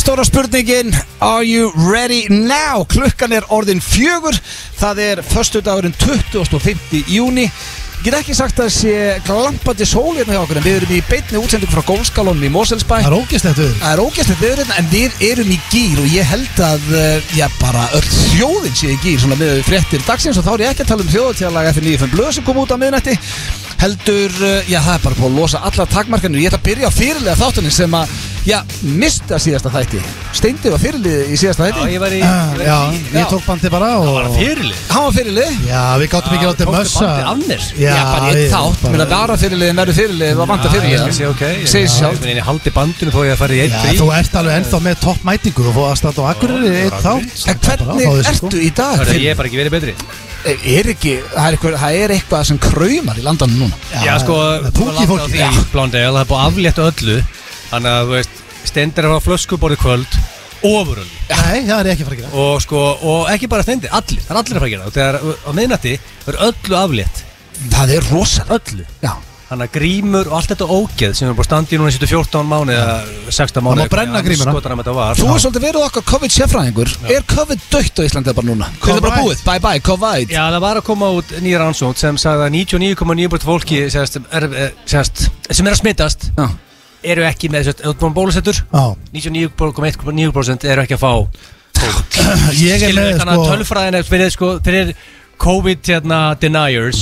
stóra spurningin Are you ready now? Klukkan er orðin fjögur Það er föstudagurinn 25. júni Ég Get ekki sagt að það sé glampandi sól hérna hjá okkur En við erum í beinni útsendingu frá golfskalunum í Moselsbæ Það er ógæslegt við Það er ógæstlegt viður hérna en við erum í gýr og ég held að eh, já bara öll þjóðin sé í gýr svona með fréttir dagsins og þá er ég ekki að tala um þjóðatíðalag F95 blöð sem kom út á miðnætti heldur, eh, já það er bara búið að losa alla takmarkanir, ég ætla að byrja á fyrirlega þáttunni sem að, já, mista síðasta þætti Steindi var fyrirlið í síðasta Já, þætti ég var í Já, ég tók bandi bara og fyrirlið Hann var fyrirlið Já, við gáttum ekki Ah, látið mössa Já, bara einn þátt, bara- menn að vara fyrirliðin verður fyrirlið, það vanta Ah, Ég skal fyrirlið segja ok ég- Segir sjálf. Ég meina, ég haldi bandinu þó ég að fara í eitt Já, frí þú ert alveg ennþá með toppmætingu Þú fóðu að standa á Akureyri í einn þátt En hvernig sko. ertu í dag? Það er sko. ég Fyrir, hef bara ekki verið betri er ekki, það er, eitthvað, það er eitthvað sem kraumar í landanum núna Já, sko Púki fólki Já, Blondel, það er búið að aflétta öllu Þannig að, þú veist, stendir að fara flöskuborði kvöld Ofuröld Nei, það er ég ekki að fara að gera Og sko, og ekki bara stendir, allir Það er allir að fara að gera það. Þegar á miðnatti er öllu aflétt Það er rosalega Öllu Já, Þannig að grímur og allt þetta ógeð sem er búið að standa í núna sýttu 14 mánu eða 16 má mánu brenna grímuna. þetta var Þú er svolítið verið okkar COVID-sefræðingur Er COVID dött á Íslandi bara núna? COVID er bara Covid. búið, bye bye, COVID Já, það var að koma út nýja rannsónd sem sagði að 99,9% fólki sérst, er, er, sérst, sem er að smittast Já. eru ekki með sérst, öðbúin bólusettur Já, 99,9% eru ekki að fá ég er Skilur með við þannig að sko tölfræðin er fyrir, sko, fyrir COVID hérna, deniers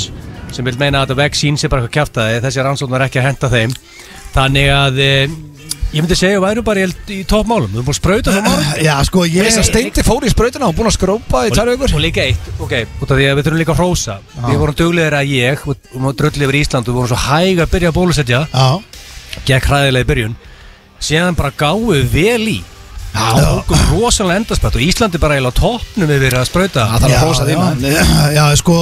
sem vil meina að þetta vaccine sé bara eitthvað kjæftaði þessi rannsónd var ekki að henda þeim þannig að e, ég myndi segja að væru bara í, í toppmálum við erum búin að sprauta það málum Já, sko, ég Þess að steindi fór í sprautuna og búin að skrópa í tvær og aukur líka eitt, ok, út af því að við þurfum líka að hrósa við vorum duglegir að ég, og og maður dröll yfir Ísland og vorum svo hæg að byrja að bólusetja Já, gekk hræðilega í byrjun síðan bara gáum við vel í og okkur rosalega endarspætt og Íslandi bara eiginlega á toppnum við verið að sprauta Það þarf já, að hósa því maður já, já, sko,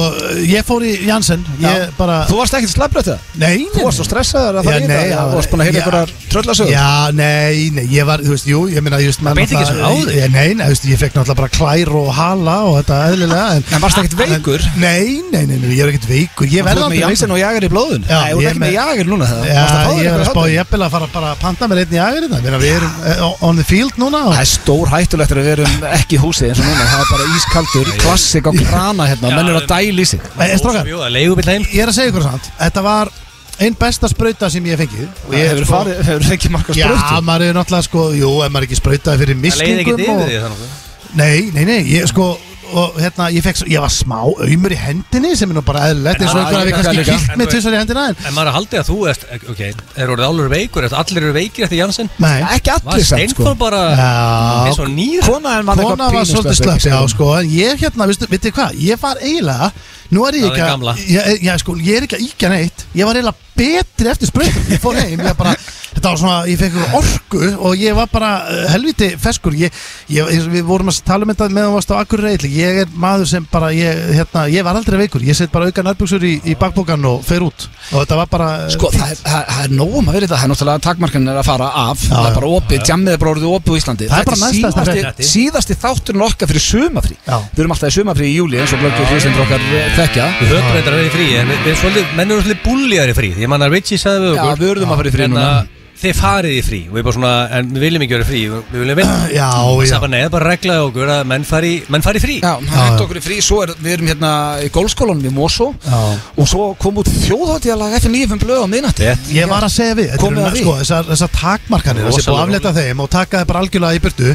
ég fór í Janssen Ég bara Þú varst ekkert slabbröð það? Nei, Þú varst svo stressaður að Já, það nei, Já, já, Þú varst búin að heyra já. einhverjar tröllasögur Já, nei, nei, ég var, þú veist, jú, ég meina, just, beit ekki svona á þig? Ég, nei, nei, þú veist, ég fekk náttúrulega bara klær og hala og þetta eðlilega En, En varst ekkert veikur? En- Nei, nei, nei, nei, ég er ekkert veikur Ég Þú ert með verði aldrei veikur Janssen og Jager í blóðun Já, Nei, þú ég ert ekki með með- Jager núna það Já, ég er að spá ég eppil að fara bara að panta mér einn í aðeins Ég meina, við erum eh, on the field núna og, Það er stór hættulegt að við erum ekki í húsi eins og núna Það er bara ískaldur, klassik á krana hérna og Menn eru að dæla í sig Nei, strákar, Jú, það leiðum við heim ég er að segja ykkur samt Þetta var einn besta sprauta sem ég hef fengið Og ég Hefur sko- farið, hefur ekki marga Já, sprautu maður er náttúrulega sko, jú, ef maður er ekki sprautaði fyrir það leiði mislingum ekkert og- yfir því þannig Nei, nei, nei, ég sko og hérna, ég, fekk, svo- ég var smá auðmur í hendinni sem er nú bara eðlilegt En eins og það- einhver hafi ég kannski líka. kýtt En með þú- tvisar í hendina en en maður er að haldi að þú ert, ok, er orðið álur veikur eftir allir eru veikir eftir Janssen Nei, Ekki var allir samt sko Steinfor bara Já. eins og nýr Kona en mann kona var svolítið slöpp Já, sko, en ég hérna, veistu, veitir hvað ég var eiginlega, nú er ég Það er ekki gamla. að ég, já, sko, ég er ekki að íkja neitt ég var eiginlega betri eftir sprautum ég fór heim, ég bara, þetta var svona ég fekk ykkur orku og ég var bara eh, helviti feskur, ég, ég, ég við vorum að tala um þetta meðan þú varst á akkur reyðli ég er maður sem bara, ég, hérna, ég var aldrei veikur ég set bara auka nærbuksur í, í bakbókan og fer út, og þetta var bara eh, Sko, það er, það það er nóg um að vera þetta, það er náttúrulega takmarkan er að fara af, það er já. bara opið, jammið er bara orðið opið í Íslandi Það er bara Þetta næsta stærsta síðasti, frétt. síðasti þátturinn okkar fyrir sumafrí Já. Við erum alltaf í sumafrí í júli eins og blöggið hlýsendur okkar eh, þekkja Við höfum reyndar að vera í frí, en við, við svolítið, menn eru svolítið búljar í frí Ég man að Richie sagði við Hérna- Já, okkur við urðum að fara í frí En núna að Þið farið í frí, og við bara svona, en við viljum ekki vera í frí, við- við viljum vinna já, Það já, er bara neða, bara reglaði okkur að menn fari, menn fari í frí Já, það Já, hendur já. okkur í frí, svo er, við erum hérna í golfskólanum í Mosó já. og svo kom út þjóðháttíðalag eftir nýjum blöð á miðnætti Rétt. Ég var að segja við, þetta Komið eru að því. sko, þessar, þessar takmarkanir Rosalega þessi búið að afleta þeim og taka þeim bara algjörlega í burtu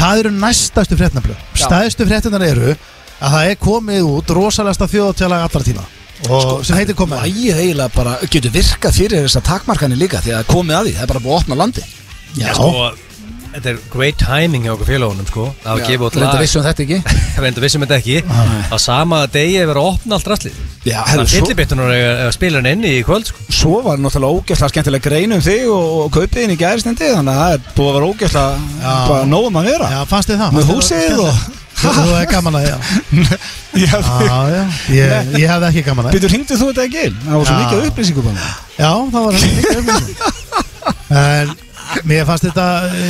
það eru næstastu fréttnaflö Já. stæðstu fréttinar eru að það er komið út rosalegasta þjóðtjálag allra tíma og Sko, sem heitir komið að- Ægið eiginlega bara getur virkað fyrir þessar takmarkanir líka því að komið að því, það er bara búið að opna landi Já, sko, þetta er great timing hjá okkur félagunum, sko Að gefa út Reyndar lag, vissum þetta ekki reynda vissum þetta ekki Á sama degi er verið að opna allt rastlið Já, herru, Það svo- er fyllibittunar að spila hann inni í kvöld, sko Svo var náttúrulega ógeðslega skemmtilega grein um þig og, og kaupið inn í gærstendi þannig að það er búið að vera ógeðslega Já. bara nóg um að vera já fannst þið það með Fannst þið húsið það og skemmtilegt? Þú er gaman að, já, Já, já, já. Ég, ég hefði ekki gaman að Býtur, hringdu þú þetta ekki inn? Það var svo Já. mikið upplýsingum bara Já, það var heldur mikið umhverfið. En mér fannst þetta,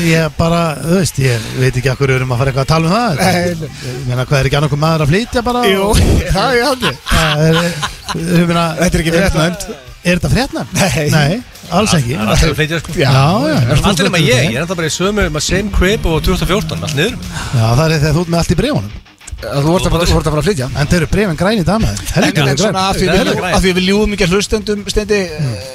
ég bara, þú veist, ég veit ekki að hverju erum að fara eitthvað að tala um það Ég meina, hvað er ekki annarkum maður að flytja bara og- það er aldrei Það er, ég meina, Þetta er ekki fréttnæmt. Er þetta fréttnæmt? Nei. Nei alls ekki Það er alltaf að flytja sko Já, já, já Allir nema ég, ég er alltaf bara í sömu um að same crib og 2014, allt niður Já, það er þegar þú ert með allt í breifunum Þú voru að fara að flytja En þeir eru breifin græn í damaður En, Helviti en eru græn svona að því Þau við, eru græn. að því við ljúum ekki að hlustendum stendi mm.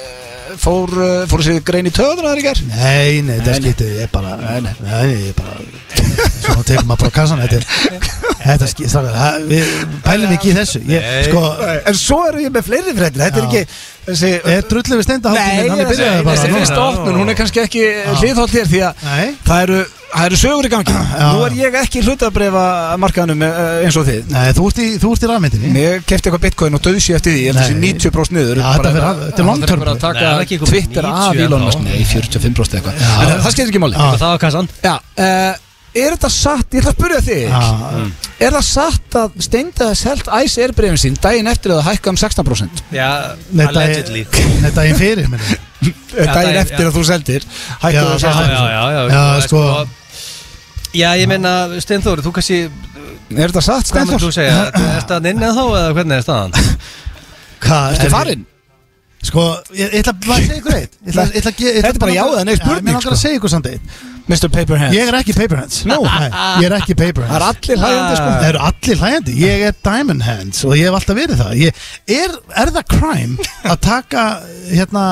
fór, eh, fór sér grein í töðunar þar í ger Nei, nei, þetta er skiptið, ég er bara Nei, nei, ég er bara Svona tekum maður bara kassan Þetta er, þetta er skiptið, strákar það- Við pælum ekki í þessu ég, Nei. Sko, En svo erum við með fleiri fréttir Þetta er Já. ekki þessi, er drullið við Nei, steindaháttinn ég Hann er er að segja, byrjaði bara þessi núna. fyrsta opnun Hún er kannski ekki hliðhótt hér Því að Nei. það eru, það eru sögur í gangi Já. Nú er ég ekki hlutabrefa markaðanum eins og þið Nei, þú ert í, þú ert í rafmyndinni Mér kefti eitthvað bitcoin og döðsi eftir því Ég held þessi Nei. 90% niður Já, þetta fer að- þetta er long term. Það er Nei, það er bara að ekki taka komið Twitter 90 af Elon ennþá. Sko, Musk Ah. Nei, 45% eitthvað En það- það skemmt ekki máli Já. Það var kassan Já, uh, er þetta satt, ég ætla að spyrja þig Já, Egill. Er það satt að steindaði selt Æs Airbrefin sín daginn eftir að það hækka um 16% Já, Nei, dag- allegedly Nei, daginn fyrir meni. Eh, Daginn daginn, eftir Hm. já. að þú seldir Já, Hækkaði um það- það Já, já, já Já, það er sko. Já, ég meina, Steinþóri, þú kannski Er þetta satt, Hvað maður þú Steinfors? segja? Er þetta ninnað þá eða hvernig er staðan? Hvað Ertu farinn? Sko, ég, ég ætla bara að segja ykkur eitt Ég ætla- ég ætla að ge- ég ætla Þetta er bara já eða nei spurning, Mér langar að sko. segja ykkur samt eitt Mr. Paperhead Ég er ekki paper hands Nú, ég er ekki paper Það er hands allir hægandi sko Það eru allir hlægandi Ég er diamond hands og ég hef alltaf verið það ég, er, er það crime að taka hérna,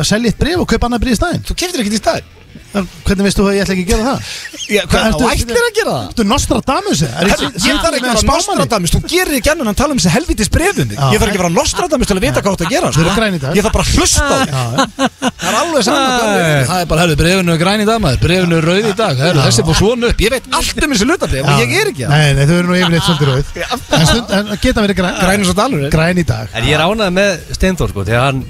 að selja eitt bref og kaupa annað bref í staðinn? Þú keftir ekkert í stað Hvernig veist þú að ég ætla ekki að gera það? Já, Hvað, Hvað ertu- þú ætlir að gera það? Þú er Nostradamus eða? Er Herru, Ég þarf ekki að vera Nostradamus, þú gerir ekki annan en tala um þessi helvitis brefum þig Já. Ég þarf ekki að vera Nostradamus til að vita hvað þú átt að gera sko. Þau eru græn í dag. Ég þarf bara að hlusta á þig. Já, Það er alveg saman Það er bara, herru, brefinu er græn í dag maður Brefinu er rauð í dag, herru, þessi fór svona upp Ég veit allt um þessi hlutabref og ég er ekki það Nei, nei, þau eru nú yfirleitt svolítið rauð En, stund, en geta verið græn Græn eins og dalur, er? Græn í dag En ég er ánað með Steinþór sko Þegar hann,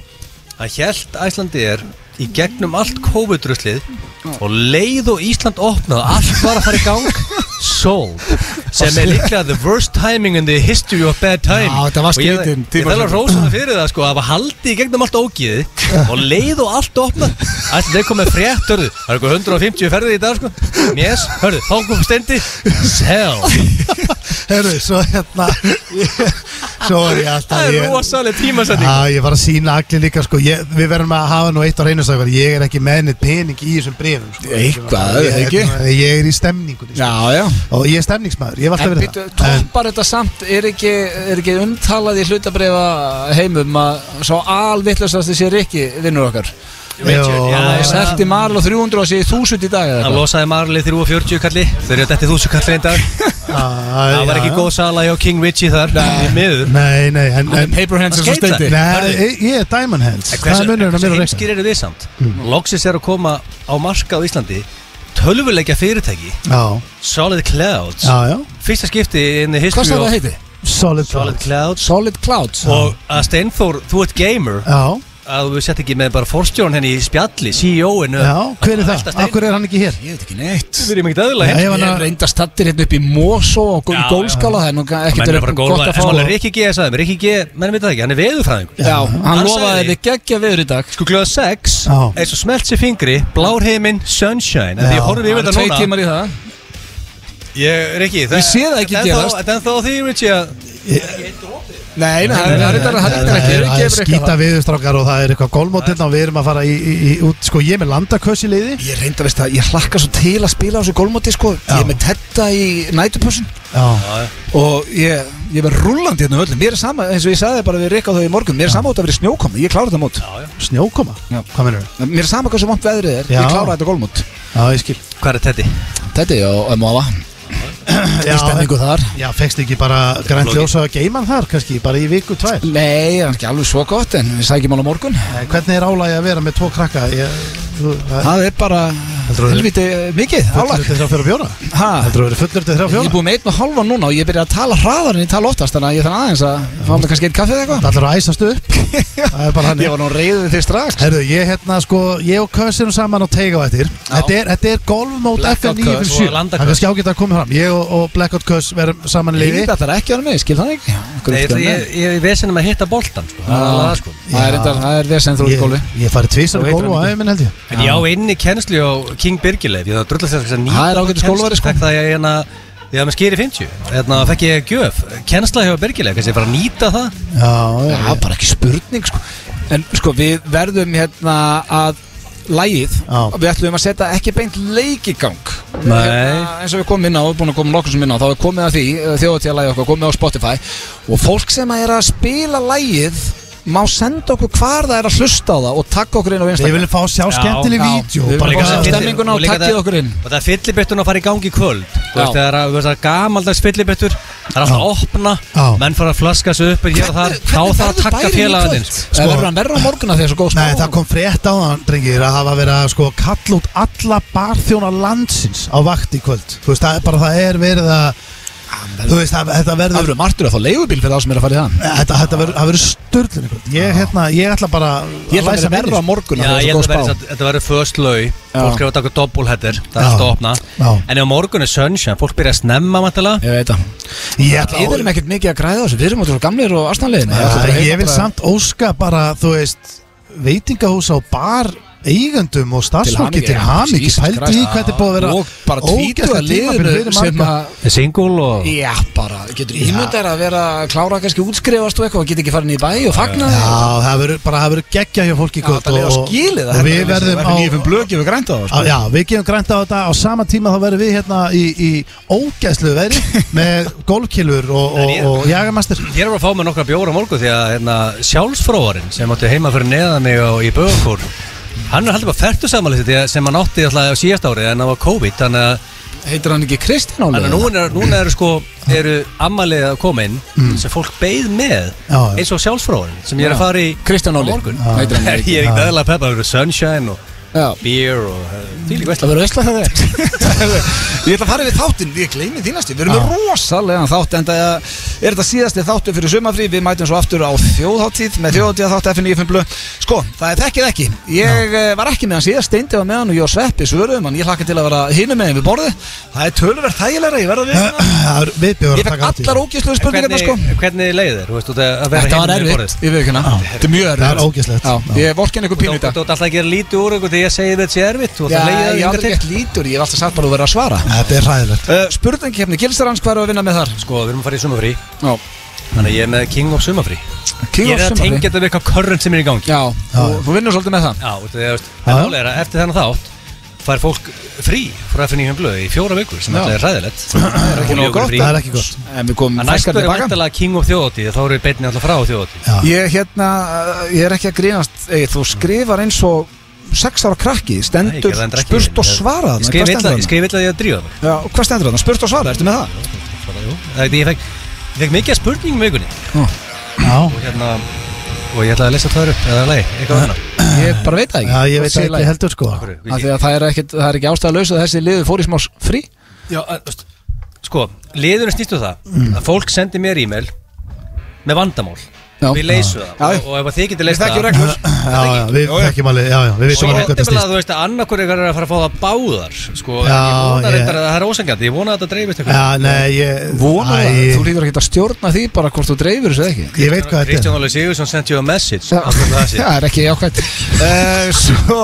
hann held Æslandi er í gegnum allt COVID-ruslið og leið og Ísland opnaði allt var að fara í gang sold sem er líklega the worst timing in the history of bad time Já, þetta var Og ég- skrýtin Ég tíma- þarf að rósa það fyrir það sko að hafa haldið í gegnum allt ógiði og leið og allt opnað Æslandi er komið frétt, hörðu það er eitthvað 150 ferðið í dag sko yes, hörðu, þá kom stendi sell Herru, svo hérna Svo er ég alltaf Það er ég- rosalega tímasending Já, ég var að sína allir líka sko ég, Við verðum að hafa nú eitt á reynastakar Ég er ekki með neitt pening í þessum brefum sko. Eitthvað, er það ekki? Ég- Ég er í stemningunni sko. Já, já Og ég er stemningsmaður, ég hef alltaf En verið býtu, það En- toppar þetta samt er ekki, er ekki umtalað í hlutabrefa heimum að svo alvittlustast þessi Rikki vinnur okkar Jó, Já, Það er ég meina- selti Marl og 300 og sé 1000 í dag eða Hann eitthvað. losaði Marley 340 kalli Þau eru þetta 1000 kalli einn dag Það var ekki góð sala hjá King Richie þar Í miður Nei, nei, en, Hann er en Paper hands eins Hann og skeitar. steindi Nei, ég- ég er Diamond Hands Það er munurinn að mér og Rikka heimskir eru við samt Mm. Loxis er að koma á marka á Íslandi Tölvuleikja fyrirtæki Já, Solid Clouds já, já Fyrsta skipti inn í Hvað history sagði það of heiti? Solid Solid Cloud Clouds Solid Clouds Og að Steinþór, þú ert gamer Já, Að þú sett ekki með bara forstjórn henni í spjalli E CEO-inu já, hver er það? Elta Stein. Akkur er hann ekki hér? Ég veit ekki neitt Við erum ekkert aðlega Nei, Ég ég var er að reynda stattir hérna upp í Mosó og Já, já, gólskála það er nú Menn ekkert er verið bara gott góla að En smálega fá Rikki G sagði mér Rikki G, menn veit það ekki, hann er veðurfræðingur Já, hann Hann lofaði sagði- við geggja viður í dag Sko glöða 6 Já. eins og smelt sér fingri Blár heiminn, sunshine En Já. því ég horfði Það yfir er tvei þetta núna tímar í það Ég er ekki Ég sé það ekki gerast. Þetta er þá því Richie, að Nei, nei, það er þetta Það ekki Rikki er- það er hefur ekki skýta viðustrákar og það er eitthvað golmótinn og við erum að fara í, í, í út, sko ég er með landaköss í liði Ég reynda að veist það, ég hlakka svo til að spila á þessu gólmóti sko Ég Já. er með tetta í nætupössun Já, Og ég, ég er með rullandi hérna á öllum Mér er sama, eins og ég sagði bara við Rikka á þau í morgun Mér er sama út að vera snjókomi, ég klára þetta mót snjókoma, Já. hvað mennur við? Mér er sama hversu vant veðrið er, Já. ég klára þetta gólmót Já, ég skil Hvað er þetta? Þetta er ég á Móa Í stemningu þar Já, fegst ekki bara grænt flókið. ljósa að geiman þar kannski, bara í viku tvær Nei, það er ekki alveg svo gott En við sækjum hann á morgun Nei, Hvernig er álægi að vera með tvo krakka? Ég, þú, það Það er bara þú- helviti eh, mikið Fullur álag til þrjá fjóra fjóra? Ha, Heldur þú verið fullur til þrjá Ég er fjóra? búið með einn og halvan núna og ég byrja að tala hraðar en ég tala oftast Þannig að ég þannig aðeins að fá mig kannski einn kaffið eða Það ætlar að æsast upp Það er bara eitthvað Ég hann var nú reyðið þig strax Herðu, ég hérna sko, ég og Kös erum saman á teiga á eftir Þetta er, þetta er golfmót Blackout FN 957 Kös og Það Landa er Kös. kannski ágætt að koma fram Ég og, og Blackout Kös verum saman í liði Lífið þetta er ekki að vera með, skil það ekki Akkur ekki Nei, ég, vera með? ég, ég er vesenum að hitta boltan sko. Það er alveg það, sko. Ah, Það er reyndar, það er vesen þú ert í Ég, golfi ég farið tvisar Þú heitir í golf og hann ekki. aðeiminn held ég En ég á inni kennslu á King Birgileif Ég þarf að drulla þess að nýta Það er ágætis golfari, sko. Takk það ég hérna Ég hafði með skýri 50 Þannig að Hérna, fekk ég gjöf Kennsla hjá Birgileif Kannski ég fara að nýta það Já, já, Það já er bara ekki spurning sko En sko, við verðum hérna að lægið, Já. við ætlum að setja ekki beint leikigang Nei. Hérna, eins og við komum inn á, við erum búin að koma nokkur sem inn á þá er komið að því, þjóðatíða lægið okkar komið á Spotify og fólk sem er að spila lægið má senda okkur hvar það er að hlusta á það og taka okkur inn á Við Instagram viljum fá að sjá Já, skemmtileg já. vídeo Við viljum bara fá eitthvað- að sjá stemminguna og líka takkið það- okkur inn. Og það er fyllibetturinn að fara í gangi í kvöld Þú Já. veist, það er að- þú veist, það er gamaldags fyllibettur Það er alltaf að opna, Já. menn fara að flaska sig upp hér og þar, Þá Hvernig þarf að verður taka bærinn í félagatinn kvöld? Það verður hann verður á morgun að því að það er svo góð spá Nei, það kom frétt á þann, drengir, að hafa verið að sko kalla út alla barþjóna landsins á vakt í kvöld. Þú veist, það er bara, það er verið að, þú veist, það, þetta Það verður, verður martur að fá leigubíl fyrir það sem er að fara í þann þetta, þetta verður, það verður störlun í kvöld. Ég, hérna, ég ætla bara Ég ætla að læsa vera verður á minni, morgun Já, að því að það ég er held svo að góð verði spá satt- þetta verður föst lau Já. Fólk er að taka doppulheader Það er Já. alltaf að opna Já. En ef á morgun er sunshine, fólk byrja að snemma vantilega Ég veit það sko. Ég ætla Við erum ekkert mikið að græða á þessu, við erum alltaf svo gamlir og astanlegin Já, ég vil samt óska bara, þú veist, veitingahús á bar eigandum og starfsfólki til hamingi, pældu í hvað þetta er búið að vera Og bara tvítu ógeðslegt að tímabil liðinu fyrir sem marga. að Single og Já, bara, getur ímyndar að vera að klára kannski útskrifast og eitthvað og geta ekki farin í bæ og fagna Já, það verður bara, það verður geggja hjá fólki í kvöld það er að og- skilið og við verðum á blöki við grænta á sko. Á, já, við gefum grænt á þetta á sama tíma þá verðum við hérna í, í ógæslu veri með golfkilur og, og, ég- og jagamastur Ég er bara að fá mig nokkra bjóra morgu því að hérna, sjálfsfróðarinn sem átti heima fyrir neðan mig og í bögakór hann er haldið bara fertu samanlýst sem hann átti alltaf á síðast árið en það var COVID þannig að, Heitir hann ekki Kristján þannig að Álega? núna, er, núna eru sko eru ammalið að koma inn Mm. sem fólk beið með Já, já. eins og sjálfsfróðarinn sem ég er að fara í Kristján á Óli morgun heitir hann ég er ekki. ekki aðlega peppa það eru sunshine og Já. beer og eh, því líka Það verður veistla það er Ég ætla að fara við þáttinn, ég gleymi því næstu Við erum með rosalega þátt En það er þetta síðasti þáttu fyrir sumafrí Við mætum svo aftur á þjóðháttíð Með þjóðháttíða þátt FN95 Blu Sko, það er þekkið ekki Ég eh, var ekki með hann síðast, steindi var með hann og ég og Sveppi svöruðum hann Ég hlakka til að vera hinum með við borðið Það er tölverð þægilega, ég verða við Það er viðbjóður Ég að fekk taka allar ógæslu spurningarna sko hvernig, hvernig leið þér? Þú veist, þú veist, að vera Þetta var hinum megin við erfitt, borðið? ég veit ekki hana Þetta er mjög erfitt Það er ógeðslegt. Já, Ég vorkin eitthvað Þú pínu í ert dag alltaf að gera lítið úr ykkur þegar ég segi þetta sé erfitt Þú ert Já, að leiða ég hef það yngar aldrei til gett lítur, ég hef alltaf sagt bara að vera að svara Þetta er ræðilegt Uh, spurningkefni, Gilstarans, hvað er að vinna með þar? Sko, við erum að fara í sumafrí Já, Þannig að ég er með King of Sumafrí King Ég of er að Summer tengja þetta við eitthvað körrent sem er í gangi Já, Já, þú, þú vinnur svolítið með það þú veist, það er nálega að eftir þennan þátt fær fólk frí frá FNÍ blöð í fjóra vikur sem Já. alltaf er ræðilegt Það er ekki nógu gott, Það er ekki gott En við komum En næstu fækkar er tilbaka vantilega King of Þjóðotíð þá eru við beinni alltaf frá Þjóðotíð Já. Ég, hérna, uh, ég er ekki að grínast Ey, Þú skrifar eins og sex ára krakki Nei, ég Stendur, gerði það ekki. spurt og svara hérna. Ég þarna. Hvað stendur skrif illa- Ég þarna? skrif illa að ég að drífa mig Já, Hvað stendur þarna? Spurt og svara, ertu með það? Það er því Ég fekk ég fekk mikið af spurningum í vikunni Já, og hérna og ég ætlaði að lesa það upp eða lagi, eitthvað annað Ég bara veit það ekki já ég veit Sé ekki lagi. heldur sko Af hverju? Af því að það er ekkit- það er ekki ástæða laus að þessi liður fór í smá s- frí Já, en, þú veist, sko, liðurinn snýstu það Mm. að fólk sendi mér e-mail með vandamál Já. við leysum það Já, já. og, og ef að þið Við getur leysum þekkjum það reglur Já, já, við þekkjum alveg, já, já, við Svo veitum er alveg hvað það nefnilega stýst að þú veist að annarkur ykkar er að fara að fá það báðar sko, Já, ég vona ég- reyndar að það er ósengjandi ég vona að þetta dreifist Já, eitthvað nei, ég Vona Æ, það, þú ég- lítur ekki að stjórna því bara hvort þú dreifir þessu eða ekki Ég veit hvað þetta Kristján er Óli Sigursson sent you a message Já, af um hverju það sé. það er ekki jákvæmt uh, Svo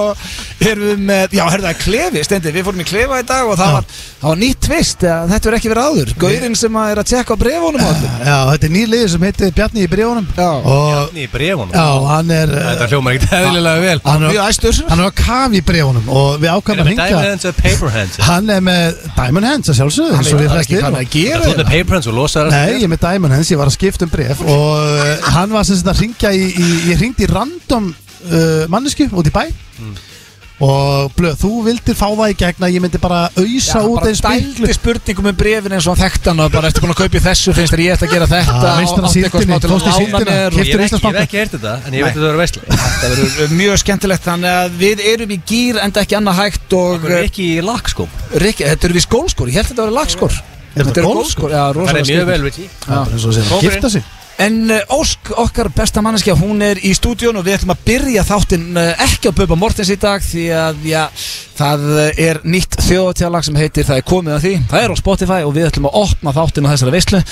erum við með Já, herðu það er klefi, stendi, við fórum í klefa í dag og það, Já. var, það var nýtt tvist eða þetta verður ekki verið áður, gaurinn sem að er að tjekka á brefunum á allir Já, þetta er nýr liður sem heitir Bjarni í brjónum Já. Og, í brefunum já, hann er eh, þetta hljómar ekkert eðlilega vel Hann er- Mjög æstur hann er á kafi í brjónum Og við Við ákvæmum erum að með hinga Diamond Hands og Paper Hands Hann er með Diamond Hands að sjálfsögðu eins og við Það er ekki hrættir hvað að gera þú ert með þetta. Paper Hands og losa það Nei, ég er með Diamond Hands, ég var að skipta um bref og uh, hann var sem sagt að ringja í, í ég ringdi í random uh, mannesku út í bæ og blöð, þú vildir fá það í gegn að ég myndi bara ausa Já, út bara eins miklu dældi spurningum um brefin eins og hann þekkt hann og bara eftir búin að kaupa í þessu finnst þér ég ætti að gera þetta Já, veist hann og að átti eitthvað síldinni, smá til fórst í að lána síldina, mér keypti- ég hef ekki- ég Íslandsbanka. hef ekki hert þetta en ég veit að það eru veistlega Þetta verður mjög skemmtilegt þannig að við erum í gýr enda ekki annað hægt og eh, það eru ekki í sko. lakkskóm Rikki, þetta eru við skólskór, ég held að þetta verður lagskór þetta Þetta eru golfskór, golfskór? já, það rosalega er mjög skrítið. vel Richie Það er eins og sem að Kókurinn. gifta sig En uh, Ósk, okkar besta manneskja, hún er í stúdíun og við ætlum að byrja þáttinn uh, ekki á Bubba Mortens í dag því að já, það uh, er nýtt þjóðatjálag sem heitir Það er komið að því, það er á Spotify og við ætlum að opna þáttinn á þessari veislu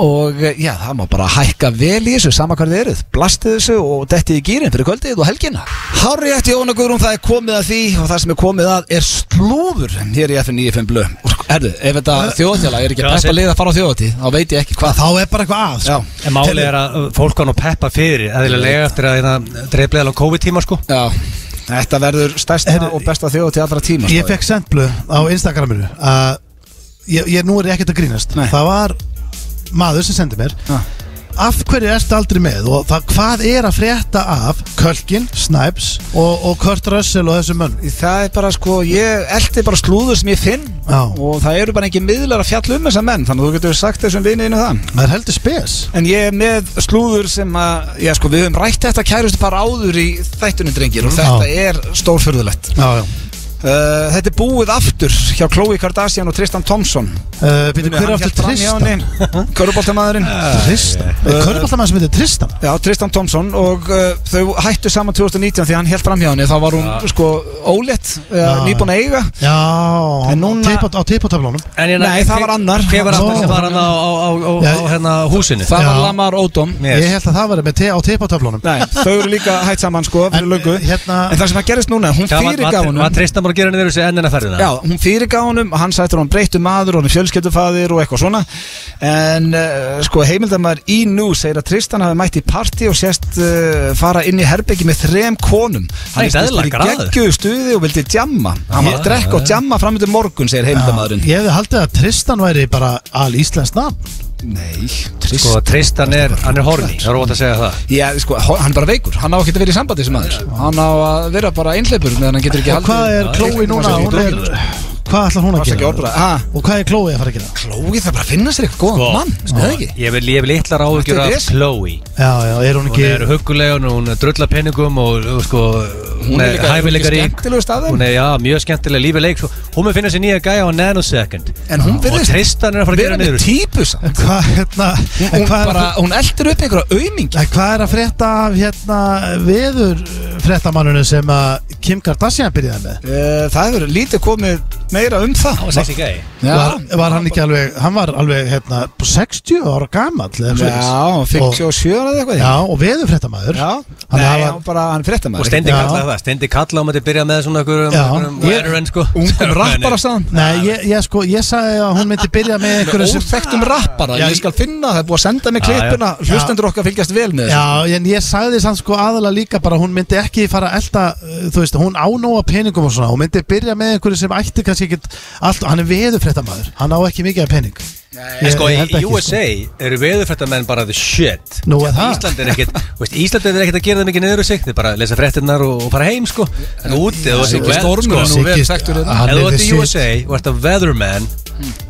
og uh, já, það má bara hækka vel í þessu, sama hvað þið eruð, blastið þessu og dettið í gýrin fyrir kvöldið og helgina Hári eftir Jóna Guðrún, það er komið að því og það sem er komið að er slúður hér í FN 95 blöð herðu, ef þetta þjóðatjálag er ekki Já, að peppa sem- lið að fara á þjóðatíð þá veit ég ekki hvað Þá er bara eitthvað að Já, sko. En málið er að uh, fólk á nú peppa fyrir eðlilega eftir að það dreiflega á COVID-tíma sko já Þetta verður stærsta Herðu, og besta þjóðatíð allra tíma sko. Ég fekk sendblöð á Instagraminu að ég, ég nú er ég ekkert að grínast Nei. Það var maður sem sendi mér Já. Af hverju ertu aldrei með og það, hvað er að frétta af Kölkin, Snipes og, og Kurt Russell og þessu mönn Það er bara sko, ég eldi bara slúður sem ég finn Já. og það eru bara ekki miðlar að fjalla um þessa menn þannig að þú getur sagt þessum vinniðinu það Það er heldur spes En ég er með slúður sem að, já sko, við höfum rætt þetta kærustu par áður í þættunum drengir og þetta er stórfurðulegt. Já, já Uh, þetta er búið aftur hjá Khloe Kardashian og Tristan Thompson. Uh, Býtu, hver er aftur Tristan? Köruboltamæðurinn. Tristan? Uh, Körbáltamann sem heitir Tristan? Já, Tristan Thompson og uh, þau hættu saman 2019 því að hann held fram hjá henni. Þá var hún, sko, ólétt, uh, Já. nýbúin að eiga. Já, á En núna- teipa- á teipatöflunum Nei, það var annar. Hver var annar Nó. sem var hann á, á, á, á, Já, á hérna, húsinu? Það var Já. Lamar Odom. Yes. Ég held að það væri með te á teipatöflunum Nei, þau eru líka hætt saman, sko, fyrir En, löngu. eh, hérna- En það sem að gerist núna, hún Hvað var, fyrirgaf var, honum. var Tristan bara að gera henni verið þessi ennina ferðina? Já, hún fyrirgaf honum, hann sættur hann breyttu maður, hann er fjölskyldufaðir og eitthvað svona En uh, sko heimildamæður í nú segir að Tristan hafi mætt í partí og sést uh, fara inn í herbyggi með þrem konum Það er Hann snýst geðlakar í að. geggjuðu stuði og vildi djamma Hann var Já. að drekka og djamma fram yfir morgun, segir heimildamæðurinn Ég hefði haldið að Tristan væri bara al íslensk nafn Nei, Sko, Tristan Tristan er, hann er horni, það er ótt að segja það Já, sko, ho- hann er bara veikur, hann á ekki að vera í sambandi sem aður Hann á að vera bara einhleipur meðan hann getur ekki Og hvað er Chloe núna? Hún er, hvað ætlar hún að Passa ekki gera? orðbræða Ha, Og hvað er Chloe að fara að gera? Chloe þarf bara að finna sér eitthvað góðan mann, sko, það ekki Ég vil, ég vil litlar áhugjur Þetta er af vesen. Chloe Já, já, er hún Hún ekki er hugguleg og hún drullar penningum og, og sko, hún er hæfilegar í skemmtilegust af þeim Hún er, já, mjög skemmtileg lífið leik svo- Hún mun finna sér nýja gæja á nanosecond En hún Og virðist Tristan er að fara að vera gera með niður típu samt Hvað hérna, en Hún, hvað er, bara, bara... hún eldir upp einhverja aumingi hvað er að frétta af hérna veður fréttamannunum sem að Kim Kardashian byrjaði með? Eh, Það hefur lítið komið meira um það Og sexy gæja Já, Var, var hann ekki alveg, hann var alveg hérna 60 ára gamall eða já svoleiðis. hún 57 eða eitthvað Já, og veður fréttamaður já. Hann Nei, hafa- hann bara, hann frétta Og maður Steindi Já. kallaði það, Steindi kallaði um að þið byrja með svona einhverjum- Já. einhverjum Ég- veteran, sko. Ungum rappara sann Nei, ég, ég sko, ég sagði að hún myndi byrja með einhverju sem Óþektum rappara, Já, ég skal finna það er búið að senda mig Já, já. klippuna Hlustendur okkar fylgjast vel með þessu Já, en ég sagði samt sko aðalega líka bara hún myndi ekki fara að elda uh, þú veist, hún ánóa peningum og svona hún myndi byrja með einhverju sem ætti kannski ekki allt, hann er veðurfréttamaður, hann á ekki mikið af pening Nei, En sko, Ég- ég held í ekki, sko. USA eru veðurfrættamenn bara the shit Nú er það. Ísland er ekkit, veist, Ísland er ekkit að gera það mikið niður og sig Þið bara lesa fréttinnar og, og fara heim, sko En úti, þú veist, Siggi vel, Stormur sko er nú vel þekktur hérna. hann Ef þú er ert í the shit. USA og ert að weatherman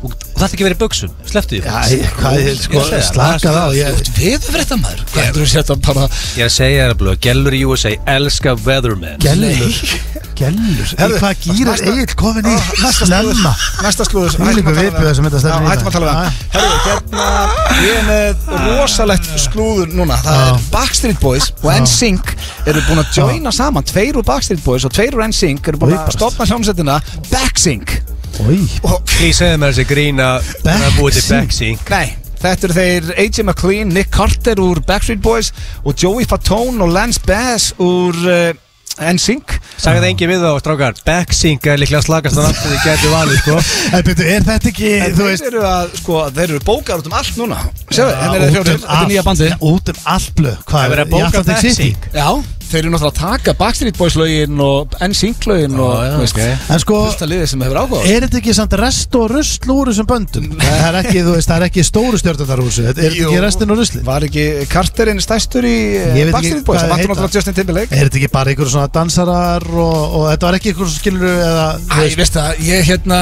og það er ekki verið í buksum, slepptu því Já, ég- hvað er, sko, Ég segi það, slakað á ég, Við frétta maður, hvað heldur þú sétt að bara Ég er að segja þér að blöða, gellur í USA elska weatherman Gellur, gellur Í Herðu, hvað gýrar næsta- Egil komin í næsta snemma Næsta slúður Þvílíkur hættum að tala viðbjóður við- sem þetta Já, stefnir í hættum að dag. tala við það. Herru, hérna Ég er með rosalegt slúður núna Það Já. er Backstreet Boys og NSYNC Eru búin að joina saman Tveir úr Backstreet Boys og tveir úr NSYNC Eru búin að Viðbjóður. stopna hljómsettina BackSync Í, Og Því segðu mér þessi grína Það er búið til backsync nei Þetta eru þeir AJ McLean, Nick Carter úr Backstreet Boys og Joey Fatone og Lance Bass úr uh, NSYNC Sagði það engin við þá, strákar Backsync er líklega slagast þannig að þið getur valið, sko en byrju, er þetta ekki, En þú þeir veist eru að, sko, þeir eru bókar út um allt núna Sjáðu, hérna út eru þeir fjórir, um þetta er nýja allt- bandið Út um allt blöð, hvað Það er verið að bóka í Atlantic City? backsync. Já, þeir eru náttúrulega að taka Backstreet Boys lögin og NSYNC lögin og já, þú veist, ok. En sko, fullt af liðið sem hefur áhuga á þessu. Er þetta ekki samt rest og rusl úr þessum böndum? það er ekki, þú veist, það er ekki stóru stjórnarnar úr þessu Er þetta Jú. ekki restin og rusli? Var ekki Carterinn stærstur í eh, Ég veit ekki Backstreet Boys hvað Það vantur þeir heita. náttúrulega Justin Timberlake Er þetta ekki bara einhverjum svona dansarar og, og þetta var ekki einhverjum skilur eða þú Æ, ég veist það, ég hérna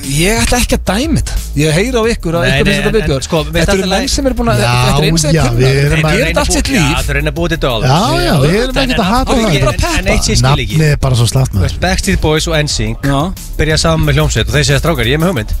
Ég ætla ekki að dæmi þetta Ég heyra á ykkur að Nei, ykkur nei, finnst en- þetta en viðbjör sko, við Þetta þetta eru menn lagi- sem eru binn að Já, Þetta eru eins já, eða við kynna erum Þeir að- gera þetta allt sitt Já, líf það er einn að búið til dollars Já, já, við erum auðvitað, ekkert en að hata af hverju það. ekki bara Peppa. En eitt síð skil ekki Nafnið er bara svo slatt maður Veist, Backstreet Boys og NSYNC Já, byrja saman með hljómsveit og þeir segja strákar, ég er með hugmynd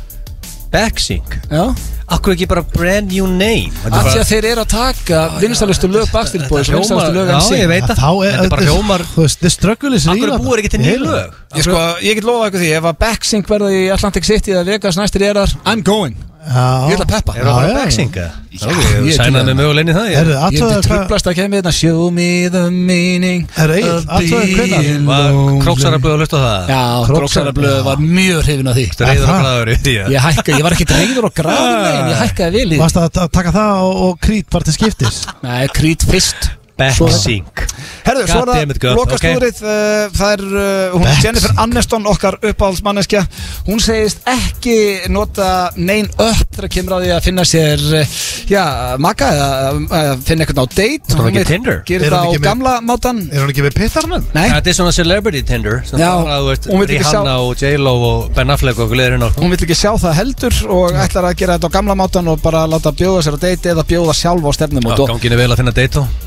Backsync, já akkur ekki bara brand new name Þetta er Af því bara- að þeir eru að taka vinstalustu lög Backstreet Boys og vinstalustu lög Já, ég NSYNC veit það Þá er Þetta er bara hljómar Þú veist, þið ströggulis Akkur búir ekki til nýju lög Ég, sko, ég get lofað ykkur því, ef að Backsync verða í Atlantic City eða Vegas næstir er þar I'm going Ég ætla að peppa Er það Já, bara já. vexinga? Já, ég Ég til í sænaði það. mig mögulegni það Herðu, ég- Ég aðtöðu myndi tröflast að kemja þetta Show me the meaning Herra Egill, athugaðu hvenær? Var króksarablu að hlusta á það? Já, Króksarablöð Já. var mjög hrifin af því Þetta reyður það? og glæður í því að- Ég hækka, ég var ekkert reyður og gráður nei, en Ég hækkaði vel í Varst að ta- taka það og, og krít var til skiptis Nei, krít fyrst Backsink Herðu, svo er Goddammit, það Guð, lokastúrið uh, Það er uh, hún Backsink. Jennifer Aniston, okkar uppáhaldsmanneskja Hún segist ekki nota nein upp þegar kemur að því að finna sér uh, já, maka eða uh, finna eitthvað á date Hún er Hún ekki vill- Tinder? Gerir Er það hún á ekki með- gamla mátan Er hún ekki með pittarnum? Nei, Þetta er svona celebrity Tinder sem Já, bara, þú veist, hún veit ekki Rihanna og J-Lo og Ben Affleck og okkur leður hérna hún vill ekki sjá það heldur og ætlar að gera þetta á gamla mátan og bara láta bjóða sér á date eða bjóða sjálf á stefnumót og Eh, Ganginu vel að finna date og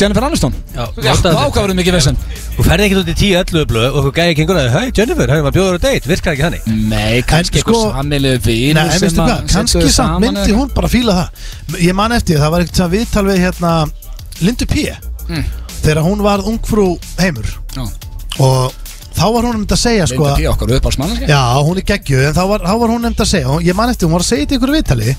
Jennifer Aniston Já, Já, notaðu vá, þetta. hvað verður mikið vesen. Þú ferði ekkert út í 10-11 blöð og þú gæði ekki einhverja Hei Jennifer, hefur maður bjóður á date, virkar ekki þannig Nei, kannski En sko- eitthvað samilegu vín Nei, en veistu hvað, kannski samt myndi hún bara fíla það Ég man eftir, það var ekkert sem viðtal við hérna Lindu P Mm. Þegar hún var ungfrú heimur Og þá var hún nefnd að segja sko, Linda að- P. okkar uppáhaldsmanneskja Já, hún er geggju En þá var, þá var hún nefnd að segja og Ég man eftir, hún var að segja til ykkur viðtali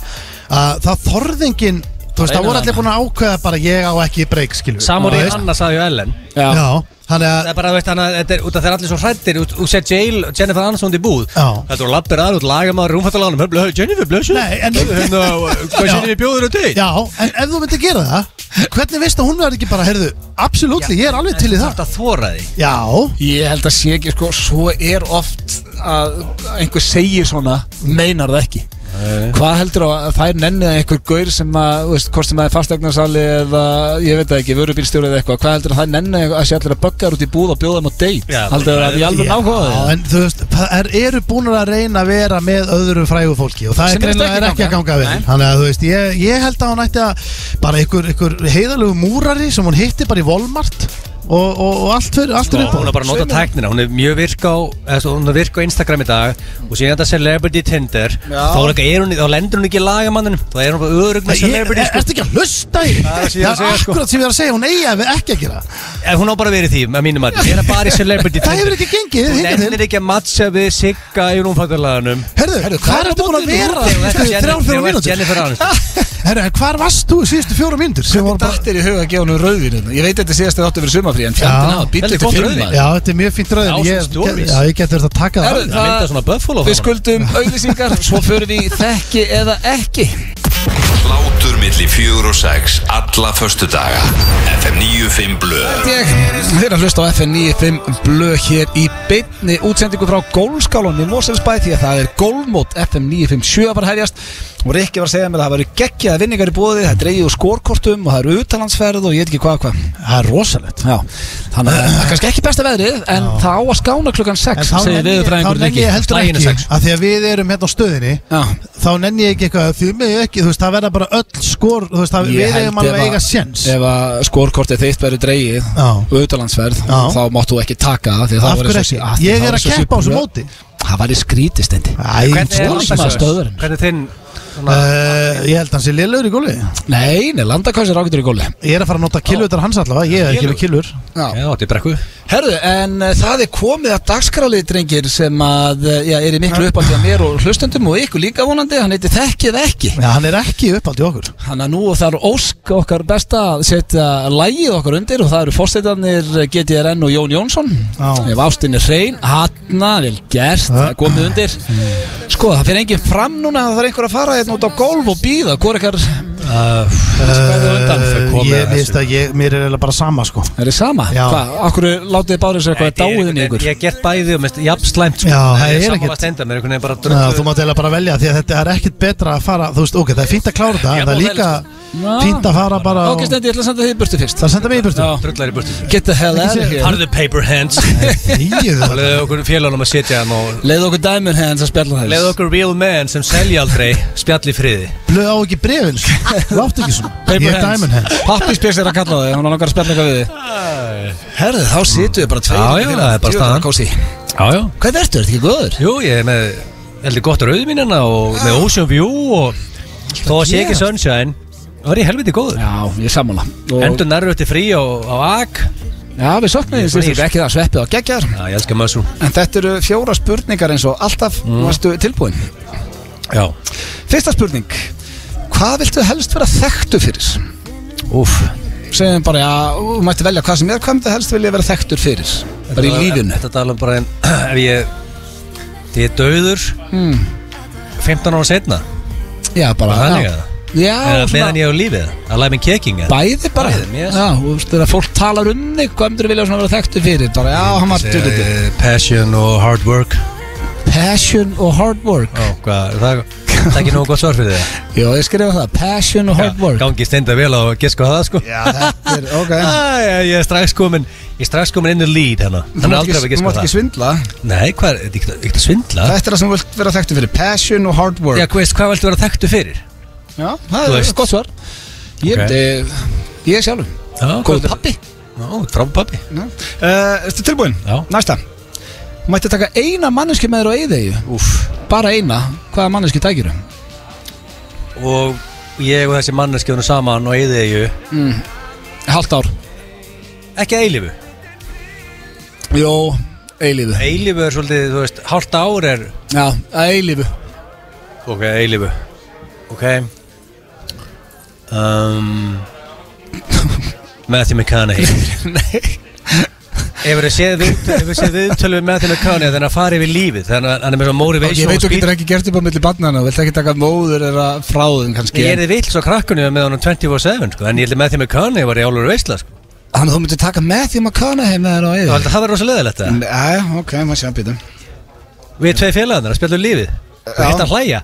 Að það þorðingin Þú veist, Reynum það voru það. allir búin að ákveða bara Ég á ekki breyk, skilur Samur í Þú veist? Hanna sagði á Ellen Já, Já, þannig að Það er bara, þú veist, hana, þetta er út af þeir allir svo hrættir Þú set Jail og Jennifer Aniston út í búð Já. Þetta eru lappir aðra út, lagamaður, rúmfattalanum Hei, blöð, Jennifer, blöð Nei, en- Hérna, hvað Já. sinni við bjóður á date? Já, en ef þú myndir gera það Hvernig veist að hún verður ekki bara, heyrðu Absolutt, ég er alveg til í það Þetta þóra því Já, Ég held að sé ekki, sko, svo er oft að einhver segir svona, meinar það ekki Hvað heldur að þær nennið einhver gaur sem að, þú veist, hvort sem það er fasteignarsali eða, ég veit það ekki, vörubílstjóri eða eitthvað Hvað heldur að þær nennið að sé allir að böggar út í búð og bjóða þeim á date Já, Heldur að ég alveg náhuga Já, það en þú veist, það er, eru búin að reyna að vera með öðru frægu fólki og það Sem er virðist greinlega er ekki ekki að ganga. ganga vel Nei. þannig að þú veist, ég, ég held að hún ætti að bara einhver, einhver heiðalegu múrari sem hún hitti bara í Walmart og, og, og allt fyrir, allt Sko, fyrir hún er bara að nota tæknina, hún er mjög virk á eða, svo, hún er virk á Instagram í dag og síðan þetta celebrity Tinder Já. þá, er ekki- er hún, þá lendur hún ekki í lagamanninu þá er hún bara örugg með celebrity sko. Ertu ekki að hlusta í? Það er það sem Það ég er að er segja, sko. akkurat sem ég er að segja, hún eigi að við ekki að gera ef hún á bara verið því, með mínum mann ég er bara í celebrity Það hefur Tinder ekki gengið, hún hingað til lendir ekki að matcha við Sigga í rúmfattalaganum Herðu, hvað er þetta búin að vera síðustu þrjár, fjórar mínútur? Jennifer Aniston Herðu, en hvar varst þú síðustu fjóra mínútur? sem voru bara- Dættir í huga að gefa hennu rauðvinu Ég veit þetta síðast að þáttu verið sumafrí En fjandinn Já. hafa bíll Heldur til gott fimm rauðvín. maður. Já, þetta er mjög fínt rauðin Thousand Ég, stories. já, ég getur þetta að taka það Herðu, alveg. það mynda svona buffalo Við framan. skuldum auðlýsingar Svo förum við í þekki eða ekki Hlátur milli fjögur og sex Alla förstu daga FM 95 Blöð Ég er að hlusta á FN 95 blöð hér í beinni útsendingu frá gólskálunni Moselsbæ því að það er gólmót FM 957 að fara að hefjast og Rikki var að segja mér að það væri geggjaða vinningar í bóði það er dreigið úr skorkortum og það eru utalandsferð og ég veit ekki hvað og hvað Það er rosalegt Já, þannig að það er kannski ekki besta veðrið en það á að skána klukkan 6 segir viðurfræðingur nenni ég heldur Slaginu ekki sex. að því að við erum hérna á stöðinni Já, þá nenni ég ekki eitthvað því mig ekki, þú veist, það verða bara öll skor þú veist, það, Ég við held eigum alveg ef að að- eiga séns ef að skorkortið þitt verður dreigið Já. auðvitalandsferð, Já. þá máttu þú ekki taka það því að það af væri hverju svo- ekki, að því ég það er væri að svo keppa á þessu sjúklega- móti Það væri skrítist endi Æ, hvernig er svona Landakásar? sem að- landakásar? stöðurinn? hvernig er þinn svona, Eh, ég held að hans er liðlegur í gólfi Nei, nei, landakásir ágætur í góli ég er að fara að nota kilvutar hans allavega, ég er ekki með kilvur já, þetta er brekku Herðu, en uh, það er komið að dagskrálið drengir sem að, uh, já, er í miklu uppátti að mér og hlustendum og ykkur líka vonandi hann heiti Þekkið ekki Já, hann er ekki uppald í okkur Þannig að nú þarf Ósk okkar besta að setja lægið okkar undir og það eru eh, fórsetarnir GTRN og Jón Jónsson Já. ef ástin er hrein, hanna, vel gert það er komið undir sko, það fyrir enginn fram núna það þarf einhver að fara hérna út á gólf og býða hvor ykkar verður undan? Eh, komið ég að veist þessu. að ég, mér er eiginlega bara sama sko er þið sama? Já. Hvað, okkur látið þið bárið sér eitthvað Þetta er dáiðin í einhvern ykkur? veginn- Ég hef gert bæði og mest jafnslæmt sko. Já, það er Ég ekkert- sammála stenda mér einhvern veginn bara Já, þú drullu mátt eiginlega bara velja því að þetta er ekkit betra að fara þú veist, ok, það er fínt að klára þetta en Ég það er má líka sko. Já. fínt að fara bara Ok, og- stendi, ég ætla að senda þið í burtu fyrst það senda mig í burtu Já. drullar í burtu Get the hell out of here Harðu paper hands Þýðu það Leðu okkur félagunum að sitja hann og Leðu okkur dæmur henni að spjalla þess Leðu okkur real men sem selja aldrei spjall í friði Blöð á ekki brefin Þú átt ekki svona Ég er Diamond Hand Pappispjöks er að kalla þig, hann er langar að spjalla eitthvað við þig Herðu, þá situm við bara tveir Já, hérna já, fyrir það er bara Djöfull, staðan. kósí. Já, já Hvað ertu, ertu ekki góður? Jú, ég er með heldur gott rauðmínina og með Ocean View og þó að sé ekki gerast? Sunshine þá er ég helviti góður Já, ég er sammála Og- Endur nærru eftir frí á, á AK Já, við soknum því sérstaklega ekki það sveppið á geggjar Já, ég elska mössum En þetta eru fjóra spurningar eins og alltaf mm. Varstu tilbúin? Já Fyrsta spurning Hvað viltu helst vera þekktu fyrir? Úf, Segjum bara, já, þú mætti velja hvað sem er Hvað myndu helst vilja vera þekktur fyrir? Bara í lífinu Þetta tala um bara en ef ég Þið er döður Hmm. 15 ára setna Já, bara Bara þannig já. eða? Já, Eða svona- meðan ég á lífið Alive and kicking eða? Bæði bara Bæði, mér. Já, þú veist, þegar fólk talar um þig Hvað myndir vilja svona vera þekktu fyrir? Bara, já, hann var Segja, eh, Passion og hard work Passion og hard work Ó, hvað, er það, það er ekki nógu gott svar fyrir það Jó, ég skrifa það Passion og hard work Gangi steinda vel á að giska á það sko Já, þetta er, ok Æ, ég- ég er strax komin Ég er strax komin inn í lead hérna Þú Hann er mátt aldrei að ekki, þú giska á mátt ekki það svindla Nei, hvað er, þetta er ekkert að svindla Þetta er það sem þú vilt vera þekktu fyrir Passion og hard work Já, hvað veist, hvað viltu vera þekktu fyrir? Já, það Þú er veist. gott svar Ég, Ok. okay. ég sjálfur Já, Góð pappi Ó, frábúr pappi Þetta tilbúin, Já. Eh, næsta Mætti taka eina manneski með þér á eyðeyju Úff Bara eina, hvaða manneski tækir og ég og þessi manneskjöfnum saman og eyðið ég Hálft ár ekki að eilífu Jó, eilífu eilífu er svolítið, þú veist, hálft ár er Já, eilífu ok, eilífu ok um, Matthew McConaughey Nei hefur þið séð viðtöl- hefurðu séð viðtölu við Matthew McConaughey þannig að fara yfir lífið þannig að hann er með svona Ég motivation veit þú getur ekki gert upp á milli barnana Vilt ekki taka móður eða fráðin kannski ég er þið vill svo krakkunni með honum 24-7 sko. en ég held að Matthew McConaughey var í álur veistla sko. Þannig að þú myndir taka Matthew McConaughey með þér á Þú eyðeyju heldur að það var rosa leðilegt það Nei, ok, maður sé að býta við tvei félagarnir að spjallum lífið við Já. hættum að hlæja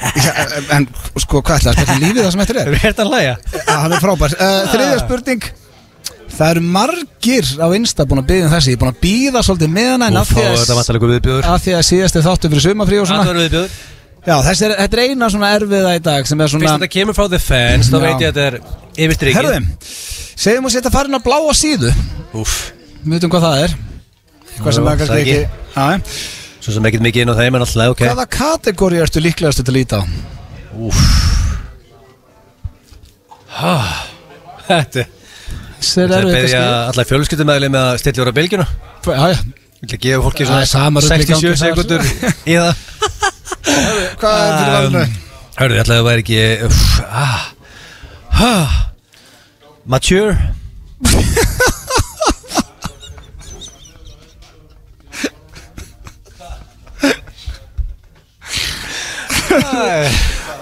En sko, hvað ætlaði að spila lífið það sem eftir er? við hættum að hlæja Já, hann er frábær Ah. uh, Þriðja spurning Það eru margir á Insta búin að byggja um þessi Ég er búin að býða svolítið með hana En og af þá því er þetta að, vantalega viðbjóður að, því að síðast er þáttu fyrir sumafrí og Það svona var viðbjóður Já, þessi er, þetta er eina svona erfiða í dag Sem er Fyrst svona þetta kemur frá The Fans Þá Já. veit ég að þetta er yfirstrikið Herðum, segjum við sér þetta farin á bláa síðu Úf Við veitum hvað það er Hvað sem er Jú, það kannski ekki. ekki Já, Svo sem ekkert mikið inn á þeim En alltaf ok Hvaða kategóri ertu líklegast til að líta á? Úf Þetta Þessi er Það er erfið beðja kannski allar fjölskyldumæli með að stilla úr á bylgjuna Já, já Ég ætla að gefa fólki Það er sama svona rugl í gangi þar. 67 sekundur í það Hvað er fyrir valinu? Um, Hörðu, ég ætla að það væri ekki uff, ah, ah, Mature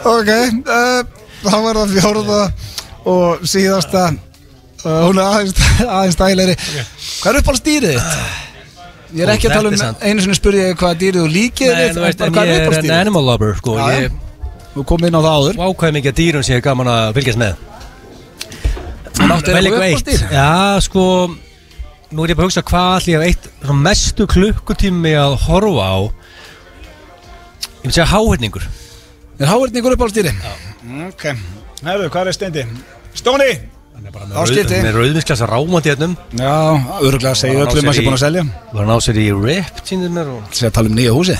Ok, uh, þá var það fjórða og síðasta uh, Hún er aðeins, aðeins dæleri Hvað er uppáhalds dýrið þitt? Ég er Ó, ekki að þetta tala um er sant. einu sinni spurði ég hvað dýrið þú líkið Nei, við, þú en veist, bara en Hvað er ég er uppáhalds an dýrið? animal lover sko. Já, Ég Þú kom inn á það áður Vákvæði mikið af dýrum sem ég er gaman að fylgjast með Máttu Vel eitthvað eitthvað uppáhalds eitt dýr? Já, sko Nú er ég bara að hugsa hvað allir ég hef eitt svona mestu klukkutími að horfa á Ég myndi segja háhyrningur Er háverðin ykkur uppáhalds dýri? Ok, herru, hvað er steindi? Stóni! Áskipti. Með rauðvinsklasa rámandi hérnum Já, örgulega segja Bara ná öllum um sér að sé í- búin að selja Var hann á sér í rip týndið mér og Sér að tala um nýja húsi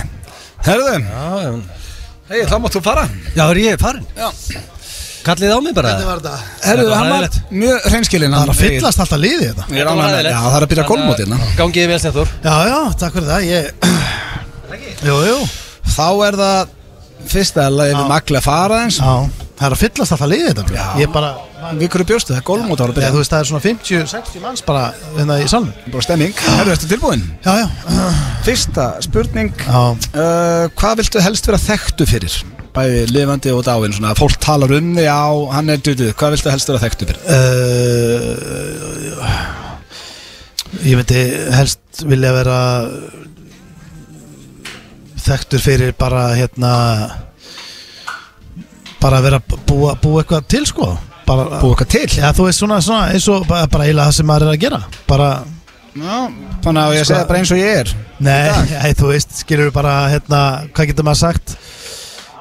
Herðu, Já, en- hei, þá máttu fara já það er ég farin Já. Kallið á mig bara Hvernig var þetta? Herðu, Þetta var hann var hræðilegt. mjög hreinskilinn Það er að hann- fyllast alltaf liðið þetta Ég er ánægður með- Já, það er að byrja golfmótið hérna. Gangiði vel snettur Já, já, takk fyrir það Ég Jú, jú Þá er það fyrsta lagið við magla að fara eins Já, það er að fyllast alltaf liðið þetta Já. Ég bara Við hverju bjóstu, það er golfmót ára að Já, byrja þú veist, það er svona 50-60 manns bara hérna í salnum Bara stemming, herru, ertu tilbúin? Já, já, Fyrsta spurning já uh, Hvað viltu helst vera þekktu fyrir? Bæði lifandi og dáin, svona Fólk talar um þig á, hann er dutið Hvað viltu helst vera þekktu fyrir? Uh, ég myndi helst vilja vera þekktur fyrir bara hérna bara að vera að búa, búa eitthvað til sko bara, Búið okkar til Já, þú veist svona, svona eins og bara, bara eiginlega það sem maður er að gera bara, Já, Þannig að ég Sko- segja bara eins og ég er nei, ei, þú veist skilur við bara, hérna, hvað getur maður sagt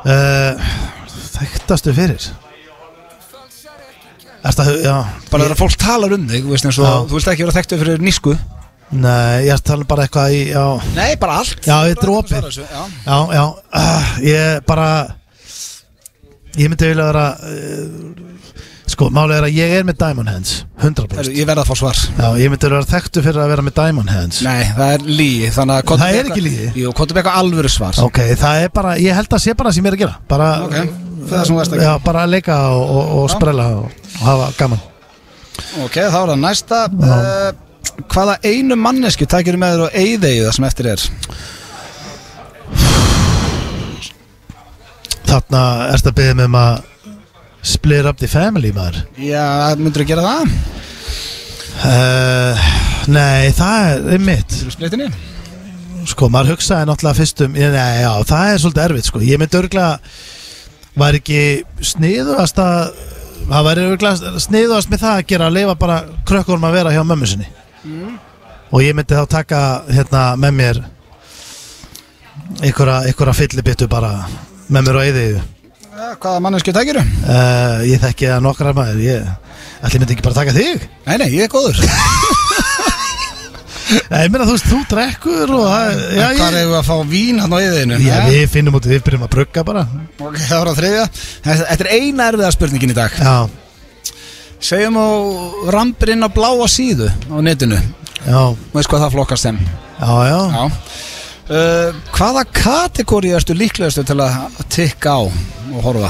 uh, þekktastu fyrir Ertu að, já Bara þegar fólk talar um þig, þú veist eins og Já. Þú vilt ekki vera þekktu fyrir nísku Nei, ég er að tala bara eitthvað í, já Nei, bara allt Já, þetta er opið. Já, já, ah, uh, ég bara Ég myndi vilja vera uh, Sko, málið er að ég er með Diamond Hands 100% Herru, Ég verða að fá svar Já, ég myndi að vera þekktu fyrir að vera með Diamond Hands Nei, það er líi Þannig að Það er Beck- ekki lygi. Jú, Kottu Bekka alvöru svar Ok, það er bara, ég held að sé bara sem ég er að gera Bara, Ok, það er sem þú varst að já, gera. bara að leika og, og, og Já. sprella og, og hafa gaman Ok, þá er það næsta Já. uh, Hvaða einu mannesku tækir með þér og eyðegi það sem eftir er Þarna erst að byggja mig um að Split up the family, maður Já, myndur þú gera það? uh, Nei, það er einmitt Til splitinni? Sko, maður hugsaði náttúrulega fyrst um ég- Nei, já, það er svolítið erfitt, sko Ég myndi örgulega Var ekki sniðuðast að Það væri örgulega sniðuðast með það að gera Að lifa bara krökkunum að vera hjá mömmu sinni Og ég myndi þá taka Hérna, með mér Einhverja, einhverja fyllibittu bara Með mér á eyðið Ja, Eh, hvaða mannesku tækir Nei, uh, Ég þekki að nokkrar maður Ég ætli ég myndi ekki bara taka þig nei, ég er góður Nei, Eh, ég meina, þú veist, þú drekkur og það Já, En Hvar ég, hefur að fá vín hann á eyðeginu? já, við finnum út, við byrjum að brugga bara Ok, það var að þriðja Þetta þetta er eina erfiða spurningin í dag Já, Segjum á rampirinn á bláa síðu á netinu já Þú veist hvað það flokkast sem Já, já, Já Uh, hvaða kategóri erstu líklegastu til að tikka á og horfa?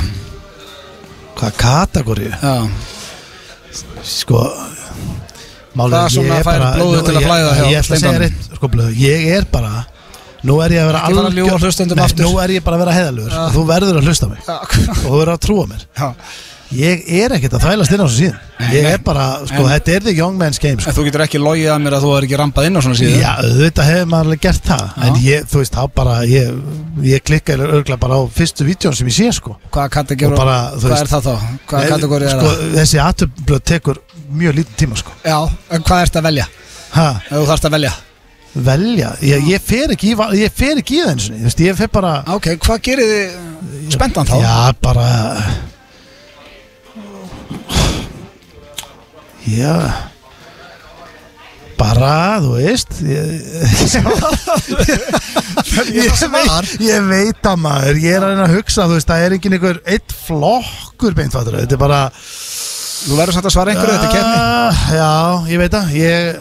hvað kategóri Já, Sko málið Hvað er, svona ég er fær bara- blóðið nú- til að ég- flæða hjá Ég ætla að segja Steindanum? reitt, sko blöðu Ég er bara, nú er ég að vera Ekki fara að ljúga algjör- hlustendum Nei, aftur. Nú er ég bara að vera heðalögur Já. og Þú verður að hlusta á mig já, og þú verður að trúa mér já. Ég er ekkert að þvælast inn á þessu síðan Ég nei. er bara, sko, En- þetta er the young man's game sko. En þú getur ekki logið að mér að þú er ekki rampað inn á svona síðu Já, auðvitað hefur maður alveg gert það En ég, þú veist, þá bara Ég, ég klikka örgla bara á fyrstu vídjón sem ég sé, sko Hvaða kategóri, Og bara, þú hvað veist- er það þá? Hvaða kategóri er sko, Þessi atöfnblöð tekur mjög lítið tíma, sko það? Já, en hvað ert að velja? Ha? Ef Þú þarft að velja velja ég, ég fer ekki í, va- ég fer ekki í það eins og veist, ég fer bara Ok, hvað gerir þið spenntan Ah, þá? já bara já bara þú veist ég, ég, veit, ég veit að maður ég er að reyna að hugsa þú veist það er engin einhver eitt flokkur beintfattur þetta er bara Þú verður samt að svara einhverju þetta kemni Ah, Já, ég veit það ég,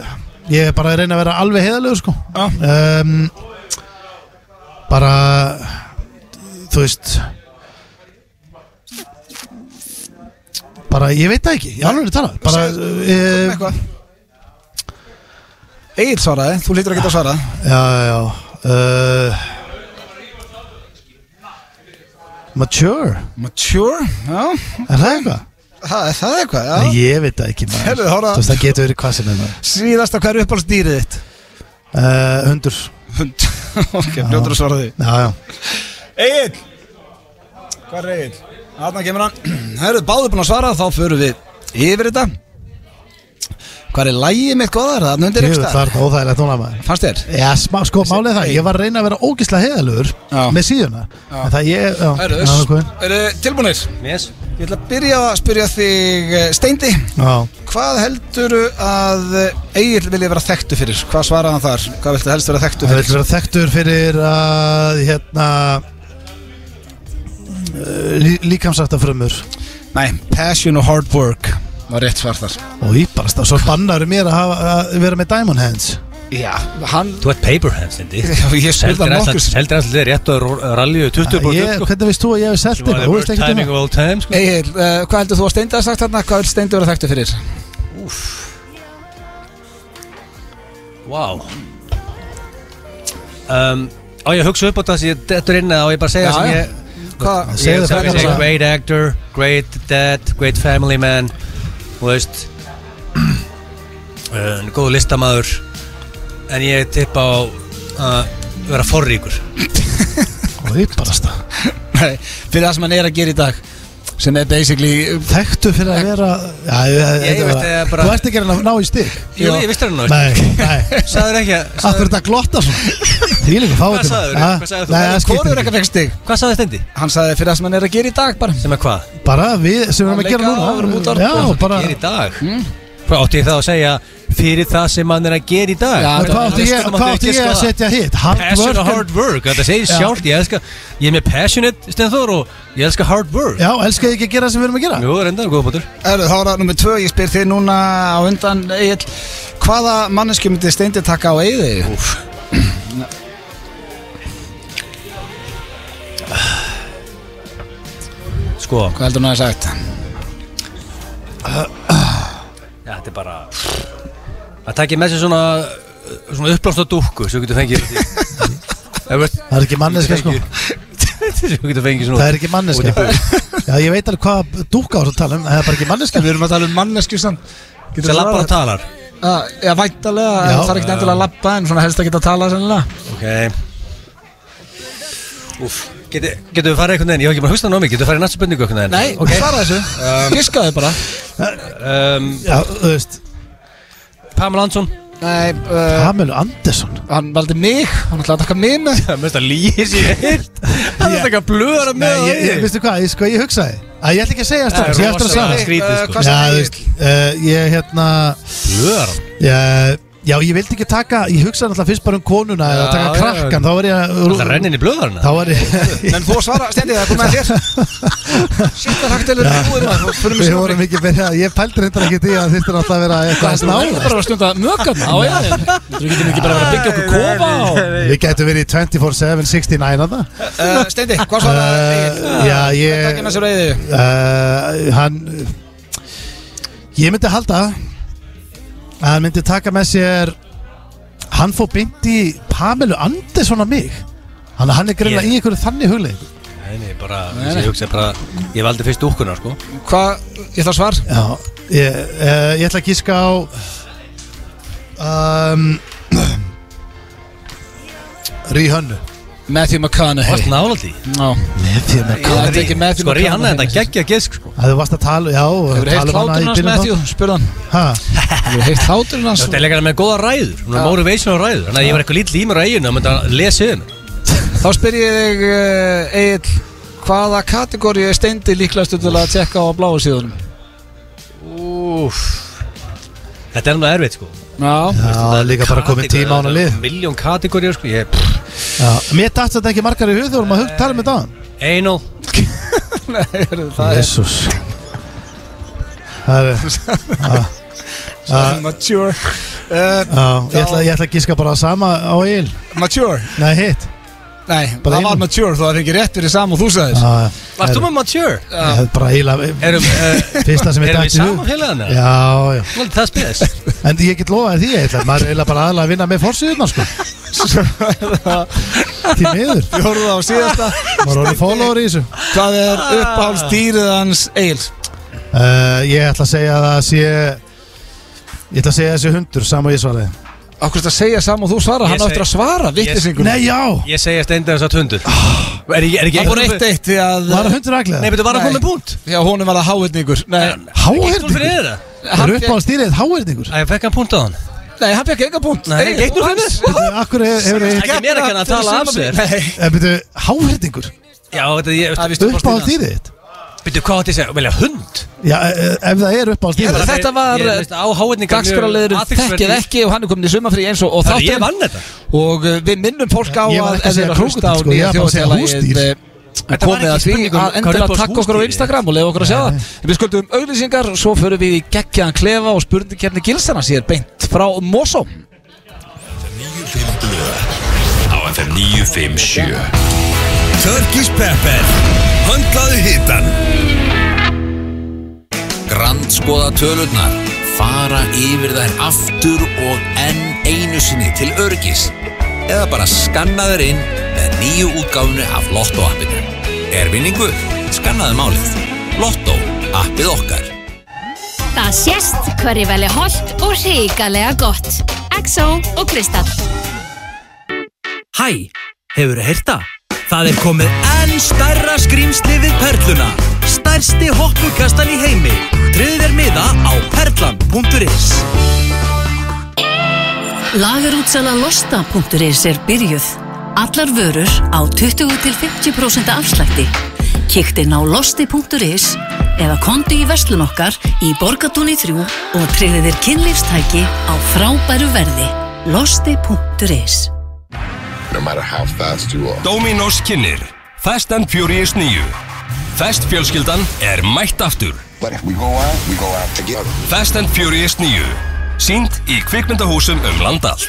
ég er bara að reyna að vera alveg heiðalegu sko um, Bara Þú veist Bara, ég veit það ekki Ég alveg er talað Bara, eh, Komum ég, eitthvað Egil svaraði, þú lítur ekki að svara já, já uh, Mature Mature, já, Er það eitthvað? það er það er eitthvað Nei, já. Ég veit það ekki maður Heyrðu, horfðu. Þú veist, það getur verið hvað sem er maður Síðasta, hvað er uppáhaldsdýrið þitt? uh, Hundur Hund, ok, fljótur að svara því Já, já Egil Hvað er Egil? Þarna kemur hann Það eru báður búin að svara, þá förum við yfir þetta Hvað er lægið mitt góðar? Þarna undir Jú, ekki það stað er það óþægilegt núna maður Fannst þér? Já, smá, sko, málið er það, ég var að reyna að vera ógislega heiðalögur Já. með síðuna En það ég, já, Herru, já, ok. eru tilbúinir? Yes Ég ætla að byrja að spyrja þig eh, Steindi, já hvað heldur að Egil vilja vera þekktu fyrir? Hvað svaraði hann þar? Hvað viltu helst vera þekktu Það vil fyrir? vera þekktur fyrir að, hérna eh, lí, Líkamsætta frumur Nei, passion og hard work var rétt svar þar Og íbarast, og svo bannar um mér að, hafa, að vera með Diamond Hands Já, hann Þú ert paper hands, Indi Já, ég spurði hann nokkur sinnum. Seldir alltaf rétt og rallið 20 ég, Hvernig veist þú að ég hef selt sko. var þetta, the þú worst veist ekkert um timing of all time sko. Egil, uh, hvað heldur þú að Steindi að sagt þarna? Hvað vil Steindi vera þekktu fyrir? Wow um, Á ég að hugsa upp á það sem ég dettur inn eða á ég bara að segja Já, sem já. ég Hvað? Segðu það Ég sagði- frekar ég bara. sagði Great actor, great dad, great family man Þú veist um, Góð listamaður En ég tippa á að vera forríkur það Og íbarast Nei, fyrir það sem hann er að gera í dag sem er basically Þekktur fyrir að vera já, ég, Ég ég, veit bara, það bara- Þú ert ekki að reyna að ná í stig Jú, ég vissi það nú Nei, Ah. nei Sæður ekki að Af hverju sagðir- þetta glotta svona? Þvílíku fáið sagðirðu? Hvað sagðir þú? Nei, það skiptir Hvorur ekki ekki fekk stig? Hvað sagði þetta endi? Hann sagði fyrir það sem hann er að gera í dag bara Sem er hvað? Bara við sem við erum að Leika gera árum út núna árum. Já, bara Ég er í dag mm? Hvað átti ég það að segja fyrir það sem mann er að gera í dag? Já, En Hvað átti ég- Listum hvað átti átti ekki ég að skoða. setja hitt? Hard Passion og work hard work, þetta segir Já. sjálft Ég, elska, ég er með passionate Stenþór og ég elska hard work Já, elskaði ekki að gera það sem við erum að gera Jú, reyndar, góða bútur Erðu, þá er það nummið tvö, ég spyr þig núna á undan Egil, hvaða mannesku myndi steindi taka á eigið þig? Sko, Hvað heldur hún að það sagt? ja, þetta er bara Það takir með sér svona Svona uppblásta dúkku Svo getur fengið Það er Það er ekki manneska sko Svo getur fengið svona Það er ekki manneska Já, ég veit alveg hvað dúka á þess að tala um en Það er bara ekki manneska Við erum að tala um mannesku samt Sem lappar og talar Já, Ah, já, væntalega, Já. það er ekkert endilega að lappa en svona helst að geta að tala sennilega Ok Úf Getur getum við farið einhvern veginn, ég hef ekki bara hugstað námið, getur við farið í næstu spurningu einhvern veginn Nei, okay. svara þessu, fiskaðu bara um, Já, þú veist Pamela Hansson Nei, uh, Hamilu Andersson hann valdi mig, hann ætlaði að taka mig með Það mest að lýja sér hirt Það er eitthvað blöðara Nei, með á ég, ég, því. veistu hvað, ég, sko, ég hugsaði Æ, Ég ætla ekki að segja það strax, Það ég er ætla að rosalega svara skrítið Eh, sko hvað- Já, þú veist, uh, ég hérna Blöðara ég, Já, ég vildi ekki taka Ég hugsaði náttúrulega fyrst bara um konuna eða Já, taka já, krakkan, þá var ég Það að rennin í blöðarna Þá var ég En þú að svara, steindi það, komið að þér Sýttar haktelur Já. búið hérna. maður, þú fyrir mig Við vorum ekki byrjað, ég pældi reyndar ekki því að þýttir alltaf að vera eitthvað að snáða bara að stunda mögarna á eða Þú getum ekki bara verið að byggja okkur kofa og Við gætum verið í 24-7, 69 að það uh, Steindi, hvað svaraði Egill? Eh, Já, Hvað ég takkir með sér eigið? uh, Hann Ég myndi halda að hann myndi taka með sér Hann fór beint í Pamelu Andersson að mig Hann, hann er greinlega í einhverju þannig hugleik Nei, nei, bara Ég hugsa bara Ég valdi fyrst úkkuna sko Hvað, ég ætla að svar Já, ég, uh, ég ætla að gíska á um, Ríhönnu Matthew Vast McConaughey nála því Já, Matthew Ég McConaughey hef tekið Matthew Sko, Ríhanna McConaughey þetta geggja gesk sko Það þú varst að tala, já um Hefur heilt hláturinn hans Matthew, spurðan Matthew Hefur heilt hláturinn hans Þetta er leikana með góða ræður Hún er motivation á ræður Þannig að ég var eitthvað lítið í mér á eiginu Það myndi að lesa um Þá spyr ég þig, uh, Egil Hvaða kategóri er steindi líklegast til að tjekka á bláu síðunum? Úf Þetta er alveg erfitt sko Já, Já, það er líka bara komið tíma á hana lið Miljón kategóri sko Ég Já, mér datt þetta ekki margar í hug þegar maður hug tala um með dagann Anal það er Jésús Það er Já. Já, Mature uh, já, ég ætla, ég ætla að gíska bara á sama á eil Mature Nei, hitt Nei, Bara það Ah. var einum. mature þó það fengið rétt fyrir sam og þú sagðir Já, Varst er- þú með mature? Ég hef bara eila Erum eh, Fyrsta sem ég erum datt í hug við saman félagana? Já, já Nú, Það spyrir En ég get lofa þér því eitthvað Maður er eila bara aðalega að vinna með fórsýðunar sko Því miður Fjóruða á síðasta Maður er orðið follower í þessu Hvað er Ah. uppáhalds dýrið hans Egil? uh, Ég ætla að segja að það sé Ég ætla að segja þessi hundur Saman ég svaraði Akkur þetta segja sam og þú svara, Ég hann á seg- eftir að svara vittisingur Nei, já Ég segja steindar þess að hundur Er ekki, er Ah. ekki Það voru eitt eitt því að Var það hundur Nei, aglega? betur var að koma Nei. með punkt Já, honum var það háhyrningur Nei, Eitt núll fyrir Háherningur? eða Það er upp á stýrið háherningur Æ, ég fekk hann punkt á hann nei hann fekk enga punkt Nei, eitt núll fyrir þér. Akkur hefur þið Ekki mér að kenna að tala af sér. Nei, Eh, byrju, háherningur? Já, þetta ég það er víst Upp á uppáhalds dýrið hans. stýrið þitt? Betur, hvað átti ég að segja? Velja hund Já, eh, ef það er upp á Ég stýrið bara- þitt Þetta var, Ég veist, á háinningar Dagskráliður þekkið ekki og hann er komin í sumafrí eins og, og Það er ég þátturinn vann þetta Og uh, við minnum fólk á Ég var að ekki að ef þeir segja eru að hlusta á krókódíl, sko, nýja ég var bara að segja þjóðfélagið húsdýr. eh, Þetta var komið ekki að því spurning um að hvað endilega uppáhalds takk okkur á húsdýrið er. Instagram og leiða okkur að sjá það En Við skuldum auðlýsingar, svo förum við í geggjaðan klefa og spurningkefni gilsana sér beint frá Mosó á FM 957 Turkish Pepper Höndlaðu hittan grandskoða tölurnar, fara yfir þær aftur og enn einu sinni til örgis eða bara skanna þær inn með nýju útgáfnu af Lotto appinu. Er vinningur? Skannaðu málið. Lotto, appið okkar. Það sést hverju veli holdt og hrikalega gott. XO og Kristall. Hæ, hefur þið heyrta? Það er komið enn stærra skrýmsli við Perluna. Stærsti hoppukastan í heimi. Tryggðu þér miða á perlan.is. Lagerútsala losta.is er byrjuð. Allar vörur á 20-50% afslætti. Kíkt inn á losti.is eða kondu í verslun okkar í Borgatúni 3 og tryggðu þér kynlífstæki á frábæru verði. Losti.is No matter how fast you are Dominos kynir Fast and Furious 9 Fast fjölskyldan er mætt aftur But if we go out, we go out together Fast and Furious 9 Sýnd í kvikmyndahúsum um land allt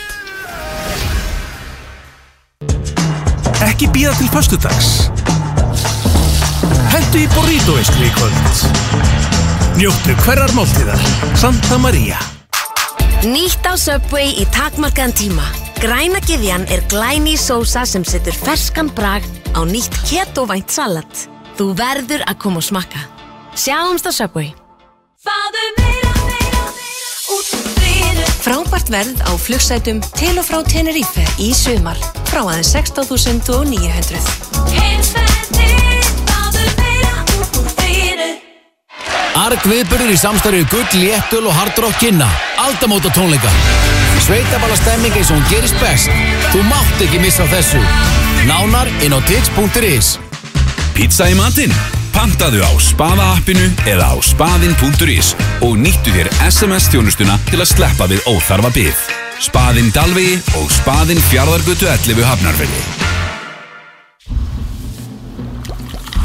Ekki býða til föstudags Hentu í burrito-eistri í kvöld Njóttu hverjar máltíðar Santa Maria Nýtt á Subway í takmarkaðan tíma. Græna gyðjan er glæni sósa sem setur ferskan brag á nýtt ketovænt salat. Þú verður að koma og smakka. Sjáumst á Subway. Fáðu meira, meira, meira út um úr dýru Frábært verð á flugsætum til og frá Tenerife í sumar frá aðeins 16.900. Heimsferðir, fáðu meira út úr dýru Arg viðburður í samstarfið Gull, Léttul og Hardrock kynna Aldamóta tónleika Sveitabala stemming eins og hún gerist best Þú mátt ekki missa þessu Nánar inn á tix.is Pizza í matinn? Pantaðu á spaða appinu eða á spaðin.is og nýttu þér SMS-þjónustuna til að sleppa við óþarfa bið. Spaðin Dalvegi og Spaðin Fjarðargötu 11 Hafnarfjörði.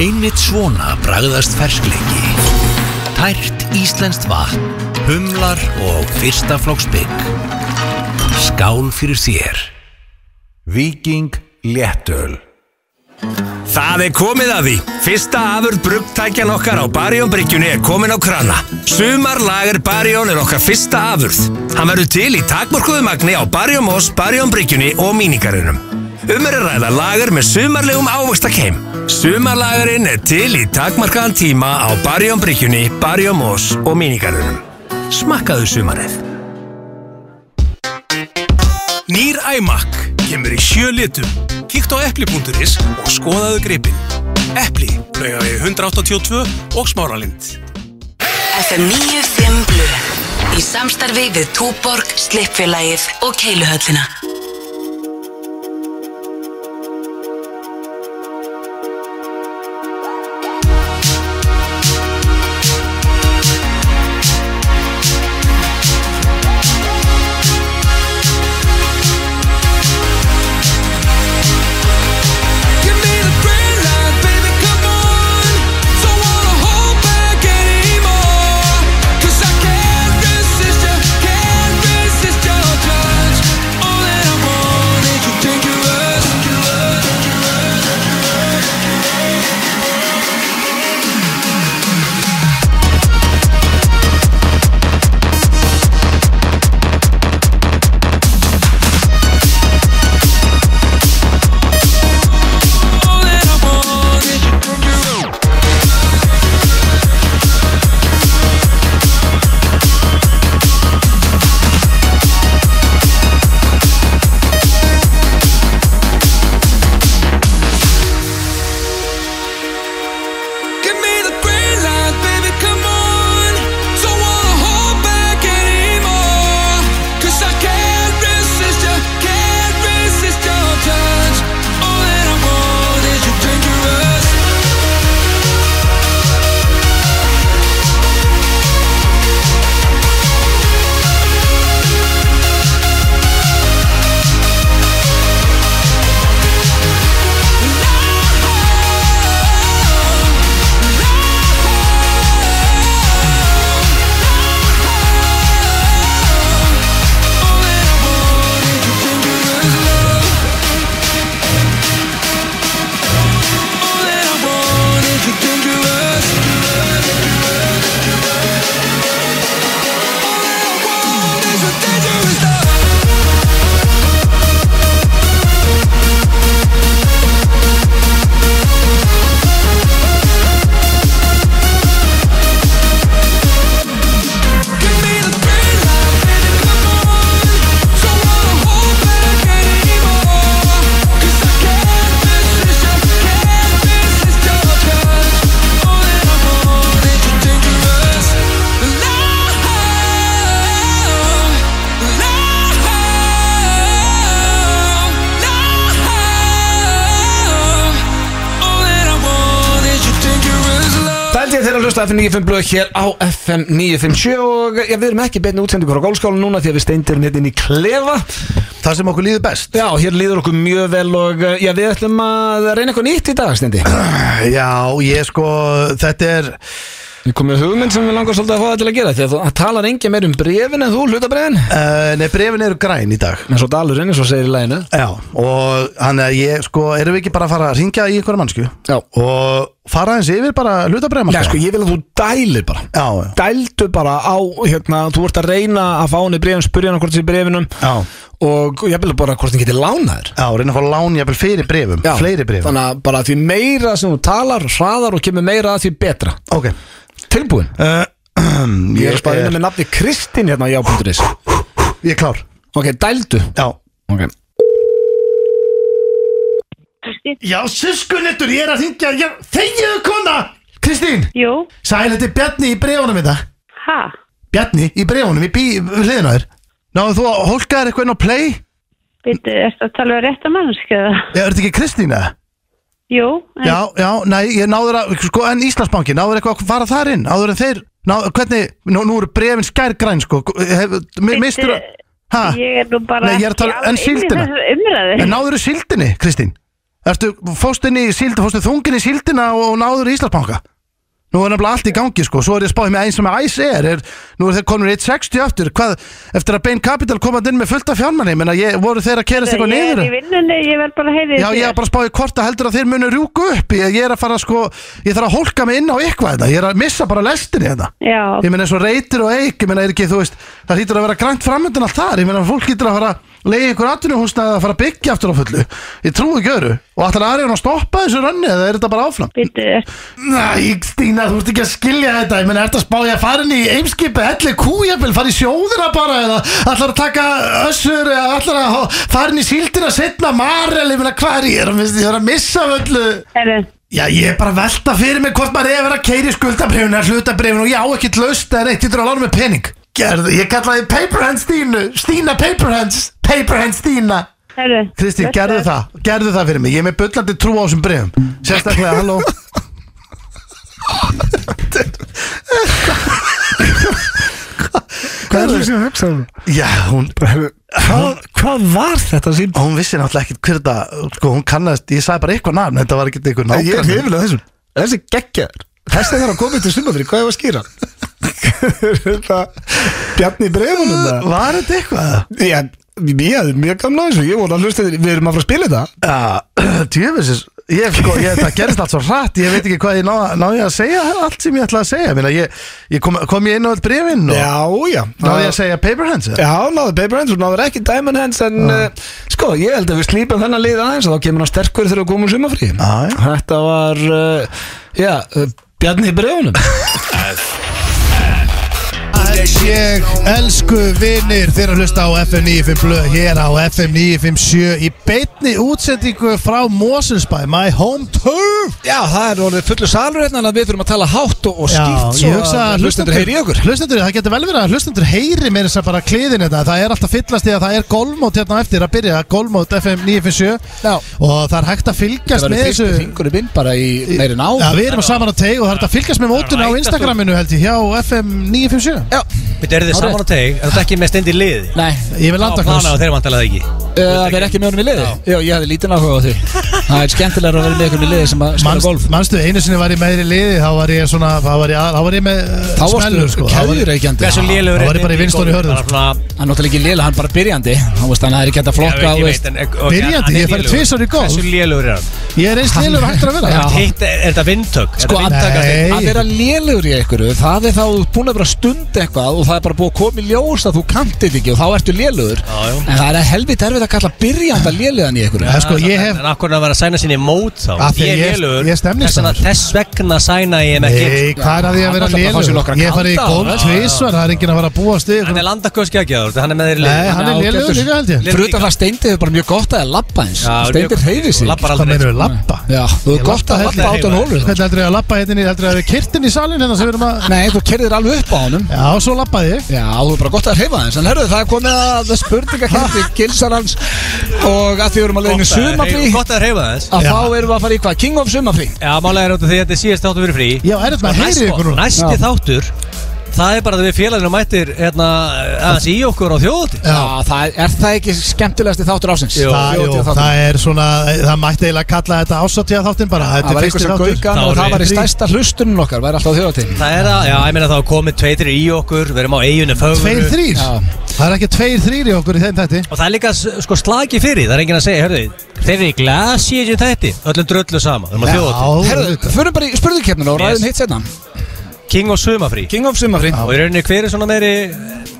Einmitt svona bragðast ferskleiki. Tært íslenskt vatn, humlar og fyrsta flokks bygg. Skál fyrir þér. Viking Léttöl Það er komið að því. Fyrsta afurð brugtækjan okkar á Barjónbryggjunni er komin á krana. Sumarlager Barjón er okkar fyrsta afurð. Hann verður til í takmörkuðu magni á Barjónmós, Barjónbryggjunni og míningarunum. Um er að ræða lager með sumarlegum ávaxtakeim. Sumarlagerinn er til í takmarkaðan tíma á Barjónbryggjunni, Barjónmós og míningarunum. Smakkaðu sumarið. Nýr æmakk kemur í sjö litum. Kíkt á epli.is og skoðaðu gripin. Epli, laugavegi 182 og smáralind. FM 95 Blu í samstarfi við Túborg, Slippfélagið og Keiluhöllina. Give me the green light, baby, come on Don't wanna hold back anymore Cause I can't resist you, can't resist your touch All that hlusta á FM 95 blöð hér á FM 957 og já, við erum ekki beinni útsendingur á gólskólan núna því að við steindirum hérna inn í klefa Það sem okkur líður best Já, hér líður okkur mjög vel og eh, já, við ætlum að reyna eitthvað nýtt í dag, steindi Eh, Já, ég sko, þetta er Ég kom með hugmynd sem við langar svolítið að fá það til að gera því að þú talar engin meir um brefin en þú, hlutabræðin uh, Nei, brefin eru græn í dag En svo dalurinn, eins og segir í læginu Já, og hann er ég, sko, erum við ekki bara að fara að ringja í einhverja mannsku Já Og fara eins yfir bara hlutabræðum Já, sko, ég vil að þú dælir bara Já, já Dældu bara á, hérna, þú ert að reyna að fá hann í brefin, spurja hann hvort þessi brefinum Já Og ég vil bara hvort hann geti lánaður Já, reyna að fá lán jafnvel fyrir brefum Já, Fleiri brefum Þannig að bara því meira sem þú talar, hraðar og kemur meira að því betra Ok Tilbúin uh, Ég er bara innan með nafni Kristín hérna á já.is Ég er klár Ok, dældu Já Ok Já, syskunettur, ég er að ringja já, Þegiðu kona Kristín Jú Sæl, þetta er Bjarni í brefunum þetta Ha? Bjarni í brefunum, í bí, við hliðina á þér Náðu þú að hólka þér eitthvað inn á play? Býttu, ertu að tala um rétta mannskja? Já, er þetta ekki Kristína? Jú, en Já, já, næ, ég náður að, sko, en Íslandsbanki, náður eitthvað að fara þar inn, áður en þeir, ná, hvernig, nú, nú eru brefin skærgræn, sko, hef, mi- Bíddu, mistur að, ha, ég er nú bara nei, ég er að tala, ekki en alveg inn í síldina, þessu umræðu. en náður síldinni, Kristín, ertu, fóst inn í síld, fóstu þungin í síldina og, og náður í Íslandsbanka, nú er nefnilega allt í gangi, sko, svo er ég spáðið með eins sem æs er, er, nú er þeir komin 1.60 aftur, hvað, eftir að Bain Capital komað inn með fullta fjármanni, menna, ég, voru þeir að kerast eitthvað ég er niður? í vinnunni, ég verð bara að heyri Já, ég er bara að spáði hvort að heldur að þeir munu rjúku upp Ég, ég er að fara sko, ég þarf að hólka mig inn á eitthvað þetta Ég er að missa bara lestinni þetta Já, Ég meina eins og reytir og eik, ég meina er ekki, þú veist Það hlýtur að vera grænt framöndan allt þar Ég meina fólk hlýtur að fara að leiða ykkur atvinnuhúsnaði að fara að byggja aftur á fullu Ég trúi ekki öru Og ætlar Arjón að stoppa þessu rönni eða er þetta bara áfram? Býttu Næ, Stína, þú ert ekki að skilja þetta Ég meina, ertu að spá ég að fara inn í eimskipi Elli kújafil, fara í sjóðina bara Eða ætlar að taka össur Eða ætlar að ho- fara inn í síldina setna Marel, ég meina, hvað er ég? Er að mis- Ég er að missa af öllu Herri Já, ég er bara að velta fyrir mig hvort maður er að vera að keiri skuldabrifun eða hlutabrifun og ég á ekkert laust eða neitt, ég þurfa að lána mig pening. Gerðu, ég kallaði Paperhands Stínu, Stína Paperhands, Paperhands Stína. Herri Kristín, gerðu það, gerðu það fyrir mig, ég er með bullandi trú á þessum brifum. Sérstaklega, halló. Hvað er það sem hugsaði um? Já, hún Hvað, hvað var þetta sín? Hún vissi náttúrulega ekkert hver þetta Sko, hún kannast, ég sagði bara eitthvað nafn Þetta var ekkert eitthvað Ég er nágranni. hrifin af þessum Þessi geggjaður Þessi þarf að koma til sumafri, hvað er að skýra? þetta Bjarni í breifunum það Var þetta eitthvað? Já, ég hefði mjög gamla þessu Ég voru að hlusta þér, við erum að fara að spila þetta Já, djöfisins Ég, sko, ég, það gerist allt svo hratt Ég veit ekki hvað ég ná, ná ég að segja Allt sem ég ætlaði að segja Minna, ég, ég kom, kom ég inn á all brefin og Já, já Náði ég að segja paper hands eða? Já, náðu Paper Hands og náður ekki Diamond Hands en uh, sko, ég held að við slípum þennan lið aðeins og þá kemur hann sterkur þegar við komum sumafrí Þetta var uh, já, uh, Bjarni í breifunum Ég elsku vinnir þeirra hlusta á FM 95 blöð hér á FM 957 í beitni útsendingu frá Moselsbæ, my home turf Já, það er orðið fullu salur hérna en að við þurfum að tala hátt og, og skýrt ég hugsa að hlustendur heyri í okkur Hlustendur, það getur vel verið að hlustendur heyri meira þess að bara kliðin þetta Það er alltaf fyllast í að það er golfmót hérna á eftir að byrja Golfmót FM 957 Og það er hægt að fylgjast með þessu Fingur upp inn bara í meiri ná Já, við erum saman á teig og það er hægt að fylgjast með mótuna á Instagraminu held ég hjá FM 957 Já, Við erum þið Hárrétt. saman á teg, er þetta ekki með stendi liði? Nei Ég vil landa Plana og þeir vantalega það ekki Uh, að vera ekki með honum í liði? Já, ég hefði lítið náhuga á því Það er skemmtilega að vera með einhverjum í liði sem að spila golf Manstu, einu sinni var ég meiri liði, þá var ég svona, þá var ég, að- þá var ég með uh, Þá varstu smellur, sko. Þá var ég- keðjureikjandi. Hversu lélegur Þá var ég bara í vinstóri hörður, sko. Hann er náttúrulega ekki lélega, hann er bara byrjandi Hann veist, hann er ekki hægt að flokka Ég þú veit, veist. en- ok, Byrjandi, hann er ég hef farið lélegur. tvisvar í golf. Hversu lélugur er hann? Ég er eins lélegur og hægt er að vera. Er hitt- Er er þetta vindtök? Sko, að, Nei. að vera lélegur í einhverju Það er þá búin að vera stund eitthvað Og það er bara búið að koma í ljós að þú kantir ekki Og þá ertu lélegur En það er helvit erfið að kalla byrjandi að lélegan í einhverju sko, ég hef En akkur að vera að sæna sinni í mót þá Af því Ég ég- er lélugur ég er stemningsmaður. Þess vegna- Þess vegna sæna ég með Nei, hvað er að því að vera lélegur? Ég hef farið í golf tvisvar, það er enginn að fara að búa stið. Hann er landakoski ekki að það, hann er með þeirri Nei, hann er lélegur líka held ég. Fyrir utan það steindið er bara mjög gott að lappa eins Já, Steindið mjög- reyði sig sko, lappar aldrei Hvað meinarðu, labba? Já, þú er Ég gott að labba lappa heldur. áttan hólur Hvernig heldur ég að lappa hérna, í- heldur ég að við kirtin í salin hérna sem við erum að... Nei, þú kerðir alveg upp á honum Já, svo lappaði ég. Já, þú er bara gott að hreyfa þess En herruðu, það er komið að spurningakendi Gilsar hann dagsins Og að því við erum að leiðinu Gott að- sumafrí hey, gott að hreyfa þess. Að Já. þá erum við að fara í hvað? King of sumafrí Já, málega er út af því að þetta er síðast þáttur fyrir frí Já, er þetta, heyrið Næsti- ykkur núna. Næsti Já. þáttur Það er bara að við félaginu mættir hérna, aðeins í okkur á þjóðutin Já, það er, er það ekki skemmtilegasti þáttur ásins? Það, jú, það er svona, það mætti eiginlega kalla þetta ásatíða þáttin bara Þetta Það er var fyrsti einhver sem þáttur gaukan og það var í stærsta hlustunum okkar, væri alltaf þjóðatíð Það er að, já, ég meina það var komið tveir þrír í okkur Við erum á eiginu fögur Tveir þrýr Það er ekki tveir þrýr í okkur í þeim þætti Og það er líka s- sko slagi fyrir, það er enginn að segja, hörðu Þeir eru í glasi í þetta, öllum drullu sama Við erum á þjóðutin Herðu, förum bara í spurðukefninu og ræðum Yes. hitt setna King of Sumafrí King of Sumafrí Og í rauninni hver er svona meiri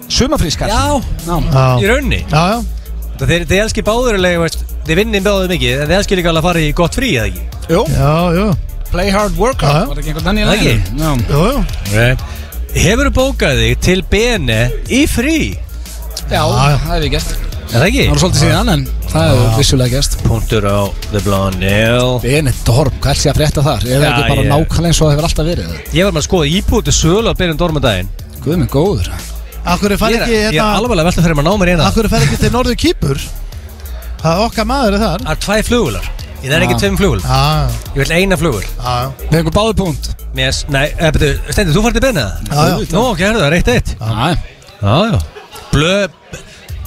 Sumafrískar Já, Já. í rauninni Já, já Það þeir, þeir elski báðurlega, veist Þeir vinni báðu mikið, en þeir elski líka alveg að fara í gott frí, eða ekki? Jú Já, jú Play hard, work hard, var það ekki einhvern danni í Það læginu? ekki? Já. Jú, jú Hefur þú bókað þig til BN í frí? Já, já. það hefur gert Er það ekki? Það var svolítið síðan en það hefur Já. vissulega gert Punktur á The Blonde Nail Benidorm, hvað er sér að frétta þar? Er það Já, ekki bara ég- nákvæmlega eins og það hefur alltaf verið? Ég var með að skoða íbúti sölu á Benidorm að daginn Guð minn góður Akkur er farið Ég er- ekki Ég er hérna alvarlega velta fyrir maður að ná mér eina Akkur er farið ekki til norður kýpur Það er okkar maður er þar Það er tvæ flugular Ég er Ah. ekki Já. tveim flugul Já. Ég vil eina flugul Með einhver báði punkt Mér, s- Nei, eh, betur, Steindi, þú fært í benið Já, já. Nú, ok, herðu, það er eitt eitt Já, já Blöð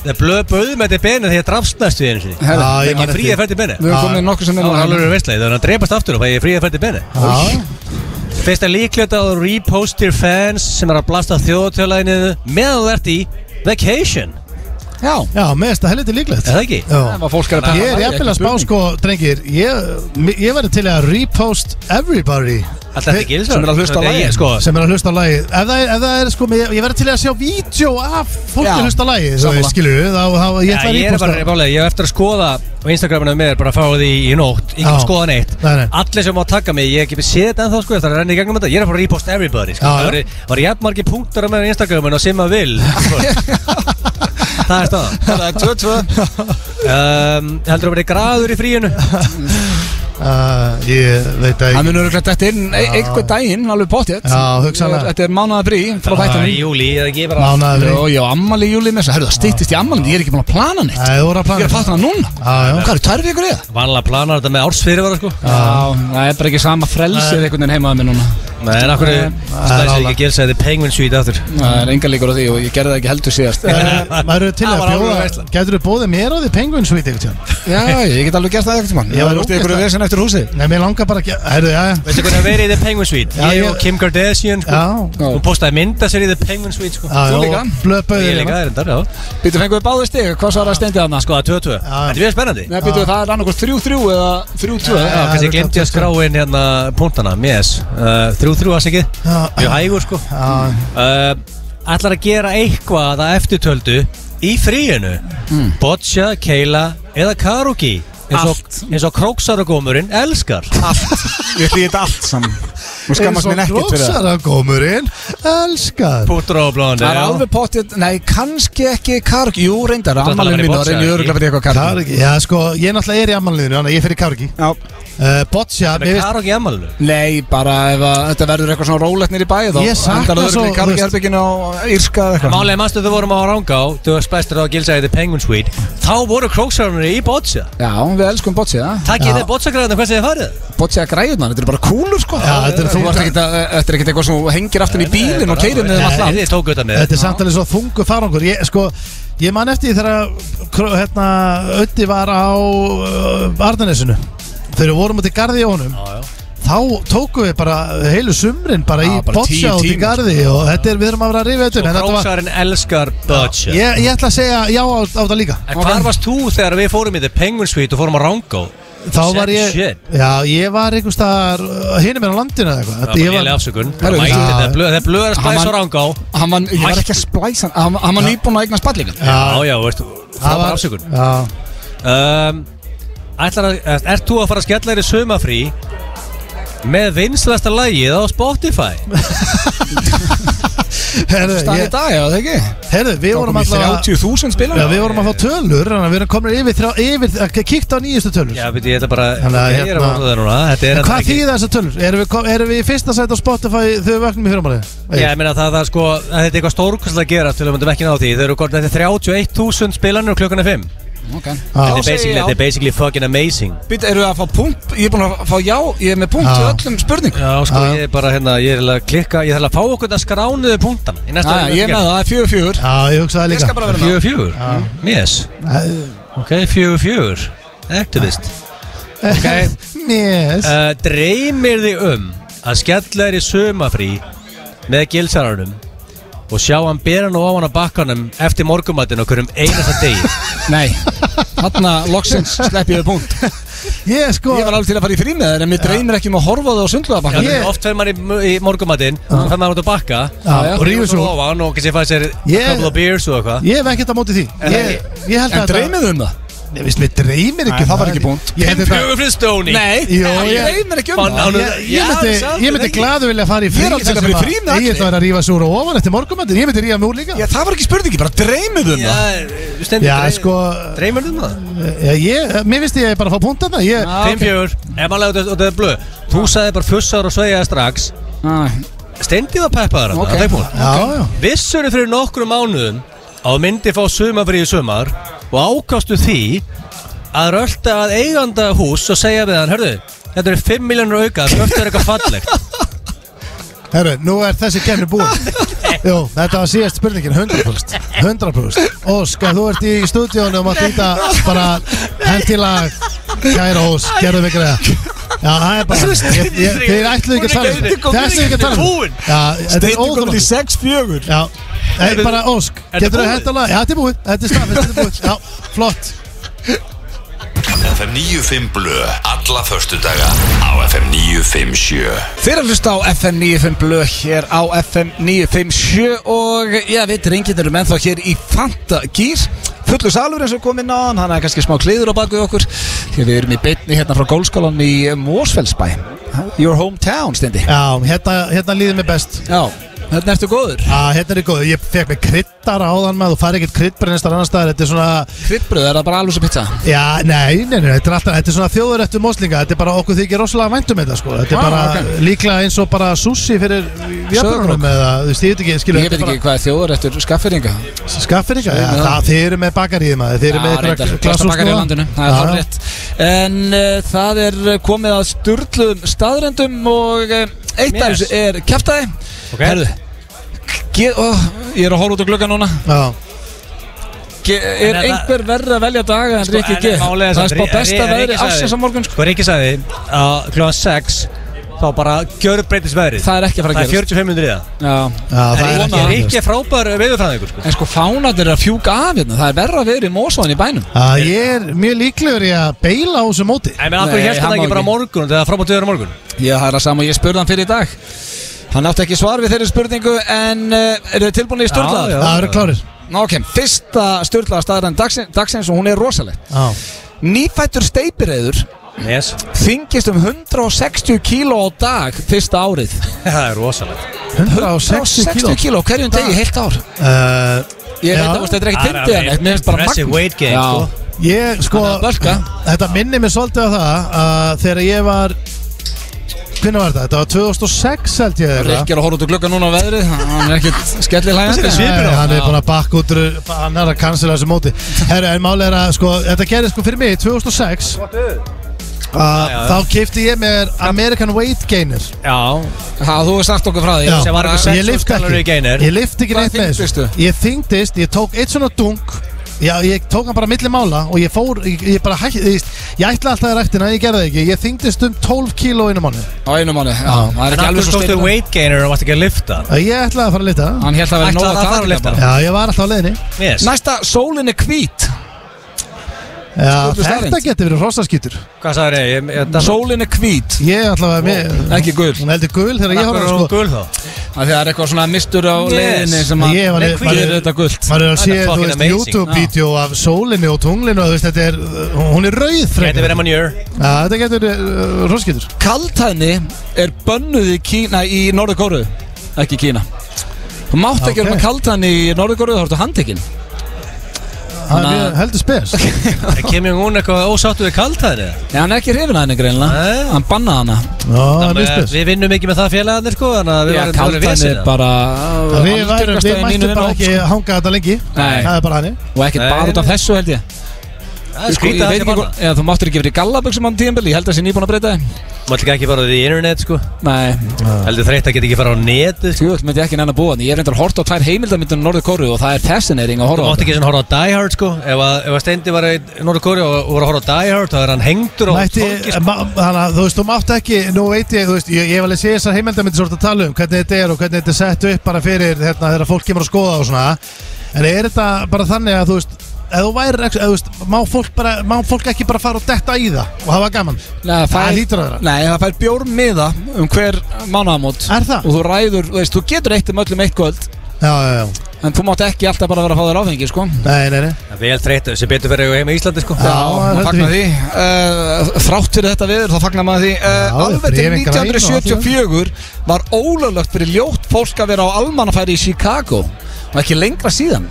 Það er blöð bauð með þetta benið þegar ég drafst næstu því einu sinni Herra, Það er ég man ekki frí eftir. að fært í benið Við höfum komið nokkuð sem hérna. er Það núna. var alveg veistlega, það er að drepast aftur og fæ ég frí að fært í benið Fyrsta líklegt að þú repostir fans sem er að blasta þjóðtjóðlæginu meðan þú ert í vacation Já Já, með þetta helviti líklegt Er það ekki? Já Það var fólk að Ég pæla er í, jafnvel ekki að spá spurning. sko, drengir Ég, ég verði til að repost everybody Allt þetta gils Sem er að hlusta á lagið. Ég, sko. Sem er að hlusta á lagið Ef það er, ef það er sko, ég, ég verði til að sjá vídeo af fólki Já, að hlusta á lagið þú sammála. veist, Skilju, þá, þá, ég ætla Já, að ég er bara, ég, reposta bara, ég er eftir að skoða á Instagraminu með þér, bara að fá því í nótt Ég að Já. skoða neitt Nei, nei. Allir sem má taka mig, ég hef ekki séð þetta ennþá sko Það er að renna í gegnum þetta, ég er að fara að repost everybody sko. Já, já. Það voru- það voru jafn margir punktar á meðan í Instagraminu og sem að vil sko. Það er staðan Það er 2-2 um, Heldur að verið graður í fríinu? Uh, ég veit að Það munur örugglega detta inn e- einhver daginn, alveg pottjett Já, hugsanlega. Þetta er mánaðabrí frá Það er þættinum júli, Ah, eða ekki bara Mánaðabrí. Jó, já, ammali í júli með þess að, herru, það stýttist í ammalin, ég er ekki búin að plana neitt Nei, þú voru að plana Ah, Ég er að plana núna Já, já Hvað eru tvær vikur í það? Vanlega planar þetta með ársfyrirvara sko Já, það er bara ekki sama frelsið einhvern veginn heimaða mér núna Nei, en akkur Nei, stæsir ekki að gera þetta Penguin Suite aftur Það er enga líkur á því og ég gerði það ekki heldur síðast Eh, Maður eru til Það að var alveg bjóða veistlan. Gætur þú bóðið mér á því penguin svo í þig Já, ég get alveg gert það ekkert mann Ég Ég var var út í einhverju ógeðslega- vesen eftir húsi Nei, mér langar bara að Herru, já, já Veistu hvernig að verið í The Penguin Suite? Já, Ég ég- og Kim Kardashian sko Já. Hún postaði mynda sér í The Penguin Suite sko Já, já, blöðbauðið Ég líka, það er þetta, já Býtu, fengum við báði stig, hvað svarar steindið hann? Sko, það er 22 Þetta er mjög spennandi Nei, býtu, það er annað 3-3 eða 3-2 Já, kannski ég glemti að skrá inn hérna punktana Yes, uh, þrjú þrjú að segja Ah, Mjög hægur sko uh, Ætlar að gera eitthvað að eftirtöldu Í fríinu Hmm. mm. Boccia, Keila eða Karuki eins og, eins og króksaragómurinn elskar Allt Ég hlýði þetta allt saman Nú skammast minn ekkert fyrir það Rósara gómurinn Elskar Pútur og blóðan Það er alveg pottið, nei, kannski ekki karg Jú, reyndar, ert að tala ammalinu um mínu Boccia, reyndi ekki? öruglega fyrir eitthvað karg Kargi, já sko, ég náttúrulega er í ammanliðinu Þannig að ég fer í Kargi Já. uh, Boccia Með Karuki amalinu Nei, bara ef að, þetta verður eitthvað svona rólegt nýri bæði Ég sakna svo, í þú veist- kargherbygginu á Írska eða eitthvað Málega mannstu þau vorum á Rangá Þú varst bestur á að gilsa í The Penguin Suite Þá voru króksaragómurinn í Boccia Já, við elskum Boccia Takk ég þeir Boccia-græðina hversu þið farið Boccia græðunar, þetta er bara kúlur sko Já, þetta er Þú þungt. ert ekkert að- Þetta er ekkert eitthvað sem þú hengir aftur í bílinn og keirir með þeim Nei, allan Þið tóku þetta með Þetta er samtalið svo þungu farangur Ég sko Ég man eftir því þegar að kró- hérna, Ötti var á uh, Arnanesinu Þegar við vorum út í garði á honum Já, já. Þá tókum við bara heilu sumrin bara Já, í bara boccia tíu út í tímar, sko. garði og þetta er, við erum að vera að rifja þetta upp, Og en þetta var- króksarinn elskar Boccia ég, ég ætla að segja já á, á það líka En hvar varst þú þegar við fórum í The Penguin Suite og fórum á Rangó? Þá var ég Shit. Já, ég var einhver staðar uh, hinum er á landinu eða eitthvað Það var Ég lélega afsökun Herru, Það mætti já. þetta blöð, það blöð er að Hann splæsa var- á Rangó Hann var, ég var ekki að splæsa hann, hann- hann var nýbúin að eignast ball líka Já, já, veist, það var afsökun Já, um, Ætlar að, ert- ert þú að fara að skella þér í sumafrí með vinslasta lagið á Spotify? herðu, Staðan í ég, dag, já, það ekki herðu við Það kom vorum í alltaf 30.000 Já, spilar við vorum að fá tölur, þannig að við erum komin yfir, þrjá, yfir að kíkta á nýjustu tölur Já, veit ég, þetta bara, Þannig að ég er að hérna- vona það núna Þetta er En hérna hvað ekki- þýðir þessar tölur? Erum við, kom- erum við í fyrsta sæti á Spotify þegar við vöknum í fyrramarið? Já, ég meina það, það er sko, að þetta er eitthvað stórkvæmst að gera til að myndum ekki ná því Þau eru gott, þetta er 31.000 spilanur klukkan er 5 Ok Þetta er basically- þetta er basically fucking amazing Býtt, eru að fá punkt? Ég er búin að fá já, ég er með punkt í Já. öllum spurningum Já, sko, ég er bara hérna, ég er að klikka, ég þarf að fá okkur að skránuðu punktan í næsta Já, ég er með það, það er fjögur fjögur Já, ég hugsaði líka. Ég skal bara vera með Fjögur fjögur? Ah. Yes Ok, fjögur fjögur Activist Ok Yes uh, Dreymir þig um að skella þér í sumafrí með gilsararunum og sjá hann bera nú ofan á bakkanum eftir morgumatinn okkur um einasta degi Nei, þarna loksins slepp ég við punkt Ég sko Ég var alveg til að fara í frí með þeir en mér dreymir ekki um að horfa á það á Já, sundlöðabakkan yeah. Oft fer maður í, í morgumatinn og þannig að maður út að bakka Já, já. og rífur svo Og- ofan og kannski fæði sér Ég- a couple of beers og eitthvað Ég hef ekkert á móti því En Ég, ég held að En dreymið um það? Nei, veist, mér dreymir ekki, Nei, það það var er ekki ekki búnt Ég held þetta- Nei, Jó, ég dreymir ekki um Fann- það. Ég- Ég myndi, Já, ég myndi ekki. glaðu vilja fara í Ég frí er alveg til að fara í frí með Ég allir. ætla að vera að rífa súra ofan eftir morgumöndin Ég myndi rífa mjög líka Já, það var ekki spurningi, bara dreymið um það Stendur, Já, sko Dreymir um það? Já, Eh, ég, mér finnst ég bara að fá punta þarna Ég, Ah, 5-4 Ef maður legur þetta er blöð Þú sagði bara fussar og sveigaði strax Stendi var peppaður Ok. hann Já, já. Vissunni fyrir nokkrum mánuðum að þú myndi fá sumafrí í sumar og ákastu því að rölda að eiganda hús og segja við hann Hörðu, þetta eru 5 miljónur auka Rölda er eitthvað fallegt Herru, nú er þessi kemni búin Jú, þetta var síðast spurningin 100% 100% Óska, þú ert í stúdíónu og maður býta bara hendilag Kæra Ós, gerðu mig greiða Já, það er bara ég, ég, Þeir ætluðu ekki að tala um þetta. Þessi er ekki að tala um þetta. Já, þetta er óþólandi 6-4 Já, það er bara Ósk Er þetta Getur þú búið? hendilag? Já, þetta er búið Þetta er staðfest, þetta er búið Já, flott FM 95 Blö Alla förstudaga á FM 957 Þeir eru að hlusta á FM 95 blöð hér á FM 957 og ég veit reyngin eru ennþá hér í Fanta Gýr fullur salur eins og kom inn á hann hann er kannski smá kliður á baku okkur því við erum í beinni hérna frá gólskólan í Mósfellsbæ Your hometown stendi Já, hérna, hérna líður mér best Já, hérna ertu góður Já, hérna er ég góður Ég fekk mig kryddar áðan maður Þú fær ekkert kryddbrið næstar annar staðar Þetta er svona Kryddbröð, er það bara alveg sem pizza? Já, nei, nei, nei, þetta er alltaf Þetta er svona þjóðurettu moslinga Þetta er bara okkur þykir rosalega væntum þetta sko Þetta er Ah, bara ok. líklega eins og bara sushi fyrir Jöpunum Söðrok. eða, þú veist, ég veit ekki skilur, Ég veit þetta er ekki hvað er þjóður eftir skafferinga bara Skafferinga, já, það, þið eru með bakaríði maður Þið eru með sko. reyndar, besta bakari í landinu Það er hálf rétt En uh, það er komið að sturluðum staðrendum og uh, eitt af þessu er kæftæði Ok. Herðu ge- ó, Ég er að horfa út á glugga núna Já Ge En er er það- einhver verð að velja daga Sko, en Rikki G Það er spá besta veðri afsins á morgun Sko Rikki sagði að kljóðan 6 þá bara gjör breytis veðrið Það er ekki að fara að Það er gerast. 45 minnur í það Já, það er ekki að gerast. Rikki er frábær veðurfræðingur sko En sko fánarnir eru að fjúka af hérna Það er verra að vera í mósóðan í bænum Já, ég er mjög líklegur í að beila á þessu móti En af hverju hérst þetta ekki bara á morgun þegar frábært veður á morgun Já, það er að sama og ég spurði hann fyrir í dag Hann átti ekki svar við þeirri spurningu En uh, eru þið tilbúinni í störlaðar? Já, já. Það eru klárir. Ok, fyrsta störlaðar staðræðan dagsins, dagsins og hún er rosaleg Já. Nýfættur steipireiður Yes Þingist um 160 kíló á dag fyrsta árið Það er rosalegt 160 kíló 160 kíló á hverjum degi heilt ár Uh, Ég já. veit að þetta er ekki Ah, Það er fyndið en alveg eitt Mér finnst bara impressive magna weight gain, sko. Ég sko Þetta minnir mér svolítið á það að þegar ég var Hvernig var þetta? Þetta var 2006 held ég þeirra Rikki er að horfa út úr glugga núna á veðrið Hann er ekkert skellir hægandi Eh, Hann er búin að bakka út úr- Hann er að cancela þessu móti Herru, en máli er að sko Þetta gerði sko fyrir mig 2006 að já. Ah, Þá kefti ég mér American Weight Gainer Já Það þú hefur sagt okkur frá því Já, Sem var eitthvað ég 600 lyfti kaloríu ekki gainer. Ég lyfti ekki Hvað neitt með þyngdistu? þessu Ég þyngdist, ég tók eitt svona dunk Já, ég tók hann bara milli mála og ég fór, ég, ég bara hætti, ég, ég ætla alltaf að rættina, ég gerði það ekki, ég þyngdist um 12 kíló einu manni. Á einu manni, já, það er En ekki af alveg hverju svo stóðstu steipur weight gainer og varst ekki að lifta Ég ætlaði að fara að lita. Hann hélt að vera nóg Ætlaði að að fara taka að lyfta. bara. Já, ég var alltaf á leiðinni. Yes Næsta, sólin er hvít Já, Stóðstu þetta staðreynd. getur verið rosaskýtur. Hvað sagði ég? ég það- Sólin er hvít Ég ætla að vera með, Ekki gul hún heldur gul þegar ég Af horfði á hverju er hana, sko. hún gul þá? Það er eitthvað svona mistur á Yes. leiðinni sem að Ég var- Nei, var- gerir þetta gult Maður er að sé, þú veist, Já. YouTube-vídeó af sólinni og tunglinu og þú veist, þetta er, hún er rauð frekar. Gæti verið manjör Já, þetta getur uh, rosaskýtur. Kaldhæðni er bönnuð í Kína í Norður Kóru Ekki í Kína Þú mátt ekki vera Ok. með kaldhæðni í Norður Kóru Þá ertu handtekinn Það er mjög- heldur spes. Er Kim Jong-un eitthvað ósáttu við kaltæðinu? Nei, hann er ekki hrifin að henni greinlega Hann bannaði hana Já, það er mjög spes. Við vinnum ekki með það félagarnir sko Þannig að við Já, varum- við varum kaldhæðni vesinn, er bara Að Við, værum, algengasta við í mættum mínum bara vinahóp, ekki sko. hanga þetta lengi Nei. Það er bara hannig Og ekkert Nei, bara út af nei. þessu held Sko, ég Það er skrítið að að þetta það banna. Þú máttur ekki verið í gallaböksum án tíðanbili Ég held að það sé nýbúin að breyta þeim Máttu ekki bara því internet sko Nei Heldur þreytt að geta ekki fara á netið sko. Þú veit, myndi ég ekki nenn að búa þannig Ég er reyndar að horta á tvær heimildamindunum Norður Kóru og það er fascinating að Þú horfa á mátt ekki svona horfa á Die Hard sko Ef að, ef að Steindi var í Norður Kóri og og voru að horfa á Die Hard þá er hann hengdur á Mætti, ma- þannig að þú veist, þú mátt ekki, nú veit ég, þú veist, ég, ég hef alveg séð þessar heimildamindir svolítið að tala um hvernig þetta er og hvernig þetta er sett upp bara fyrir hérna, þegar fólk kemur að skoða og svona, en er þetta bara þannig að þú veist, ef þú væri, eða þú veist, má fólk, bara, má fólk ekki bara fara og detta í það og hafa gaman? Nei, Það lítur að vera. Nei, það fær bjór miða um hver mánaðamót Er það? Og þú ræður, þú veist, þú getur eitt um öllum eitt kvöld Já, já, já En þú mátt ekki alltaf bara vera að fá þér áfengi, sko Nei, nei, nei Það er Vel þreytt sem betur fyrir heima í Íslandi sko Já, maður fagnar því uh, Þrátt fyrir þetta viður, þá fagnar maður því uh, Alveg til bréfin græn og allt í 1974 var ólöglegt fyrir ljótt fólk að vera á almannafæri í Chicago Og ekki lengra síðan,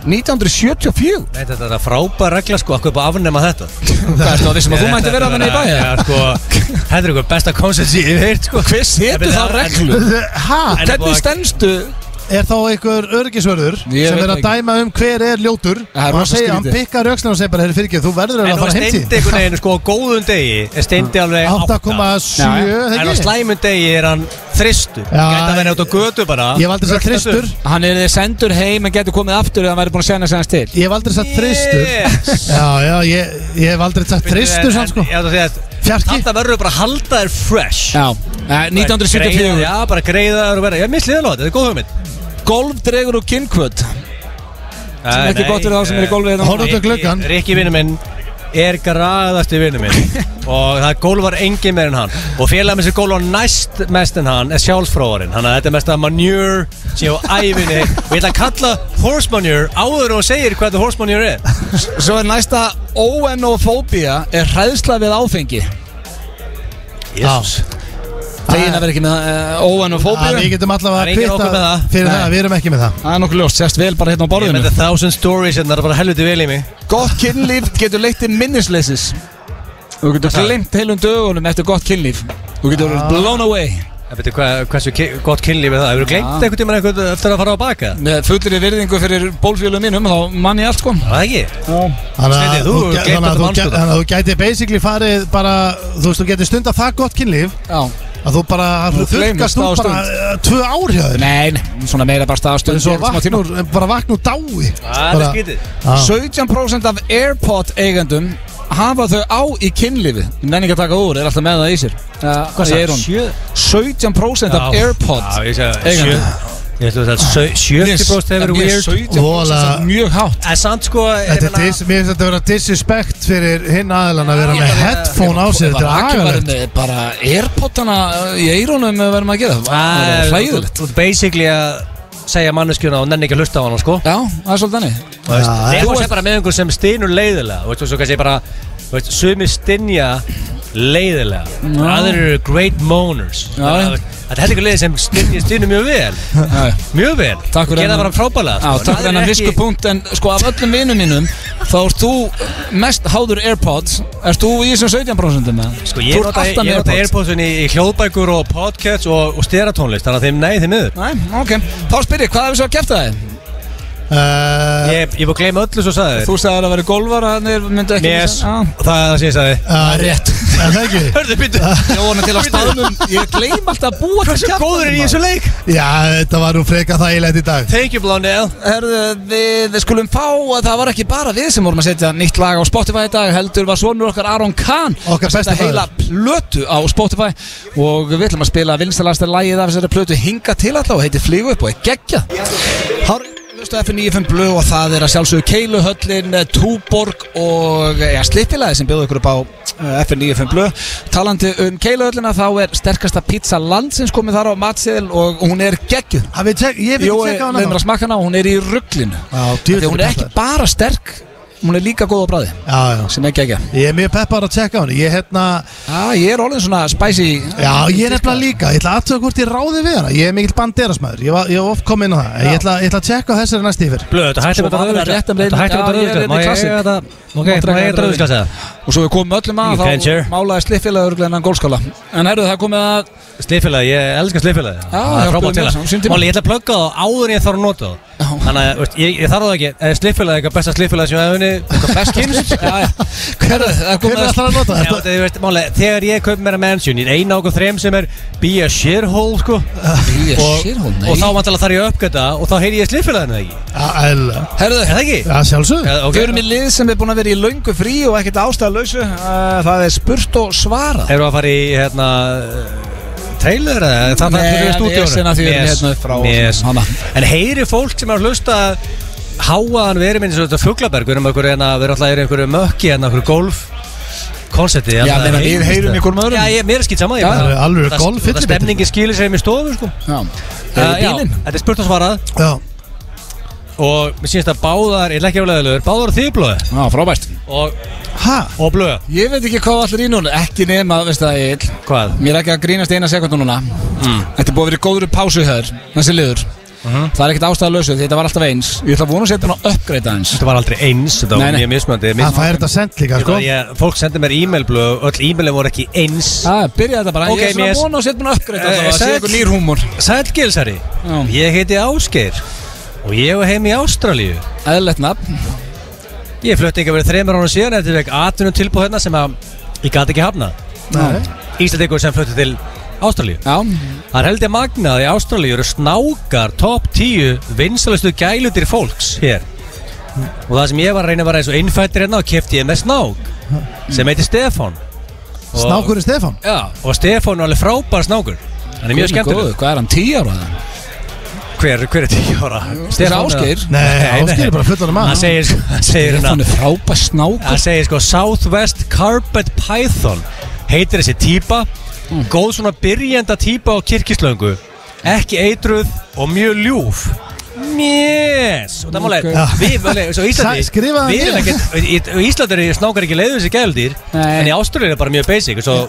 1974 Nei, þetta er að frábær regla sko, akkur bara afnema þetta Það ertu að vissum að þú Þetta mættir vera er þarna í bæ, bara- eða? Já, sko, þetta er eitthvað besta koncept sem ég heirt sko Hver setur þá reglu? Ha? Hvernig stendstu? Er þá einhver örgisvörður Ég sem veit er að ekki. dæma um hver er Það ljótur er og hann rosa segja, hann skrítið. pikkar aukslega og segja bara, herri fyrirgeð, þú verður En eiginlega það var að fara heim steindi einhvern veginn sko á góðum degi Er steindi alveg 8,7 En á þegar ekki? slæmum degi er hann þristur Gæta að vera út á götu bara Röktaður. Hann er sendur heim en getur komið aftur eða hann væri búin að segja næst til Ég hef aldrei sagt þristur Yes. Já, já, ég, ég hef aldrei sagt þristur samt sko Ég ætla að segja að Þetta verður bara að halda þér fresh Já, eh, 1974. Bara greiða- Já, bara greiða þér og vera Ég misliði alveg, þetta er góð hugmynd Golf dregur úr kynkvöld Sem ekki gott fyrir þá sem eru í golfi hérna. Horfðu út um gluggann. Rikki vinnu minn er graðasti vinnu minn og það gólvar engin meir en hann og félag með sér gólvar næst mest en hann er sjálfsfróðarinn þannig að þetta er mest að manure sem ég á ævinni og ég ætla að kalla horse manure áður og segir hvað þetta horse manure er Svo er næsta ONOfóbía er hræðsla við áfengi Jesus Þegin að vera ekki með uh, Já, ONOfóbía Við getum allavega að kvita fyrir það, við erum ekki með það Það er nokkuð ljóst, sérst vel bara hérna á Ég borðinu með þetta thousand stories en það er bara helviti vel í mig Gott kynlíf getur leitt til minnisleysis Þú getur glimt heilum dögunum eftir gott kynlíf Þú getur verið blown away Ég veit hva, hversu ki gott kynlíf er það Hefur þú glengt Já. einhvern tímann eitthvað eftir að fara á baka? Með fullir virðingu fyrir bólfjölum mínum þá mann ég allt sko Það ekki Þannig Steindi, að þú sko. þú hefur gæ- gleymt þannig að öllum þú gæ- andskotum. þannig að þú gæti basically farið bara, þú veist, þú gæti stunda það gott kynlíf Já. að þú bara, þú þurrkast þú bara eh, tvö ár hjá þér Nei, nei, svona meira bara staðastund eins og vaknur, bara vaknur dái Það Bara- Ah. Já. 17% af Airpod eigendum hafa þau á í kynlífi Nenni ekki að taka það úr, er alltaf með það í sér Hvað sagði, er hún? sjö? 17% af Airpod Já, ég segja sjö eigendum Ég ætla að það er 70% hefur Mér- weird 17% Vola- mjög hátt En samt sko Þetta er dis, mér finnst þetta að vera disrespect fyrir hinn aðlan að vera með headphone á sér Þetta er Bara ekki verið agalegt með bara Airpodana í eirónum verðum að gera það. það er hlæðilegt Þú ert basically að segja manneskjuna og nenni ekki að hlusta á hana sko Já, það er svolítið þannig Þú veist, Já, þú Þegar þú veist- sé bara með einhver sem stynur leiðilega Þú veist, þú kannski bara Þú veist, sumi stynja leiðilega Já. Aðrir eru great moaners Já. Þannig að, þú veist, Þetta er heldur leið sem stynja stynur mjög vel Mjög vel Takk fyrir Gerða þennan- bara frábælega Já, sko. takk fyrir Aðrir þennan ekki- visku punkt En sko af öllum vinum mínum Þá ert þú mest háður Airpods Erst þú í þessum 17% með það? Sko, Ég nota, ég nota Airpodsun í, í hljóðbækur og podcasts og, og steratónlist Þannig að þeim nei, þeim miður Nei, ok Þá spyr ég, hvað hefur svo að kæfta þið? Eh, Ég, ég búið að gleyma öllu svo sagði Þú sagði að það væri golfar að þeir myndu ekki Yes, missa- Já. það er það sem ég sagði Það er rétt Það eh, er ekki Hörðu, býttu Ég vona til að staðnum Ég gleym alltaf að búa um- Hversu góður er í þessu leik? Já, þetta var nú freka þægilegt í dag Thank you Blondell Herðu, við skulum fá að það var ekki bara við sem vorum að setja nýtt lag á Spotify í dag heldur var sonur okkar Aron Kahn Okkar Setta besti maður. heila plötu á Spotify og við ætlum að spila vinstalasta lagið af þessari plötu hinga til alltaf og heitir Flygu upp og er geggja Hári Lustu F95 Blu og það er að sjálfsögðu Keiluhöllin, eh, Túborg og eh, ja, Slippilaði sem bjóðu ykkur upp á eh, F95 Blu. Talandi um Keiluhöllina þá er sterkasta pizza landsins komið þar á matseðil og hún er geggjuð. Hafið þið tek- ég hef ekki tekað Jói, hana leið mér þá. að smakka hana og hún er í rugglinu. djöfull Því hún er er ekki peppaður. bara sterk Hún er líka góð á bræði Já, já Sem ekki ekki Ég er mjög peppar að tjekka hann Ég hérna Já, ég er orðin svona spicy Já, ég er nefnilega líka Ég ætla aðtöða hvort ég ráði við hana Ég er mikill banderasmaður Ég var, ég var oft komið inn á það En Ég ætla, ég ætla að tjekka á þessari næst yfir Blöð, þetta hættir Svo með var þetta það rauðvíkla rétt um leið- Þetta hættir Já, með þetta ég er rauðvíkla hérna í Má ég klassik. eiga þetta Má Má ég drekka hérna eiga þetta rauðvíkla rauðvíkla? Og svo við komum öllum You að can share. Þá málaði sliffélagi örglega en gólskala En herru, það er komið að Sliðfélagi, ég elskar sliðfélagi Já, Það er hjálpaðu frábært mér til svona, sínum tíma. Máli, ég ætla að plugga það áður en ég þarf að nota það Þannig að, veist, ég, ég þarf það ekki Það er sliffélagi, eitthvað besta sliffélagi sem ég hef unni Eitthvað best kynst Já, já. Hver er Hver ætlar að nota Já, þetta? þetta er, veist, málega, þegar ég kaup mér að mansion Ég er eina okkur þrem sem er Be a shithole, sko Be a shithole, nei. Og þá vantilega þarf ég að uppgöta Og þá heyri ég sliffélaginu ekki Æla Herðu, er það ekki? Já, sjálfsög ok. Við erum í lið sem er búin að vera í löngu frí og ekkert ástæðalösu Uh, Það er spurt og svara Erum við að fara í, hérna Trailer eða? Það þarf Nei, fyrir við stúdíónu ég sinna því við erum hérna upp frá og svona. Nes En heyri fólk sem er að hlusta Háaðan við erum eins og þetta fuglaberg Við erum okkur hérna, við erum alltaf í einhverju mökki Hérna, okkur golf Koncepti Já, meina, við heyrum í hvorum öðrum. Já, ég, mér er skilt saman Já, það er alvöru golf, golf fyllibitur. Stemningin skilir sér í stofu, sko Já Uh, já, þetta er spurt og svarað Já Og mér sínst að báðar, ég er ekki aflega leður Báðar þið blöðu Já, frábært Og, ha? og blöðu Ég veit ekki hvað allir í núna, ekki nema, veist það ég Hvað? Mér er ekki að grínast eina sekundu núna Mm. Þetta er búið að vera í góður pásu hér, þessi liður Mhm. Það er ekkert ástæðalösu því þetta var alltaf eins Ég ætla að vona að setja hann að uppgreita eins Þetta var aldrei eins, þetta var Nei, nei. mjög mismöndi Hann fær þetta sent líka, sko Fólk sendi mér e-mail blöð, öll e-mailin voru ekki eins Já, byrja þetta bara, ég er svona að vona að setja hann að Eh, uppgreita Það sé eitthvað nýr húmor Sæl Gilsari, ég heiti Ásgeir og ég hef heim í Ástralíu Æðilegt nafn Ég flutti ekki að vera þreymur ára síðan eftir vekk 18 tilbúð hérna sem að ég gæti ekki hafna Nei. Íslandingur sem flutti til Ástralíu Já Það er heldur magnað að í Ástralíu eru snákar top 10 vinsalustu gælutir fólks hér Og það sem ég var að reyna að vera eins og innfættir hérna og kefti ég með snák sem heitir Stefan Og- Snákurinn Stefan Já, og Stefán er alveg frábær snákur Hann er mjög Guð minn góður, skemmtileg Hvað er hann, 10 ára? Hver, hver er 10 ára? Stefán Ásgeir fullan Hann segir, sko- hann segir Stefán hérna er frábær snákur Hann segir sko Southwest Carpet Python Heitir þessi típa Góð svona byrjenda típa á kirkislöngu Ekki eitruð og mjög ljúf Mjess Og það málega Ok. Við, málega, svo Íslandi Sa- skrifaðu hann Við erum niður. ekkert í- í- Íslandi eru snákar ekki leiðu þessi gældýr En í Ástralíu er bara mjög basic Svo, Og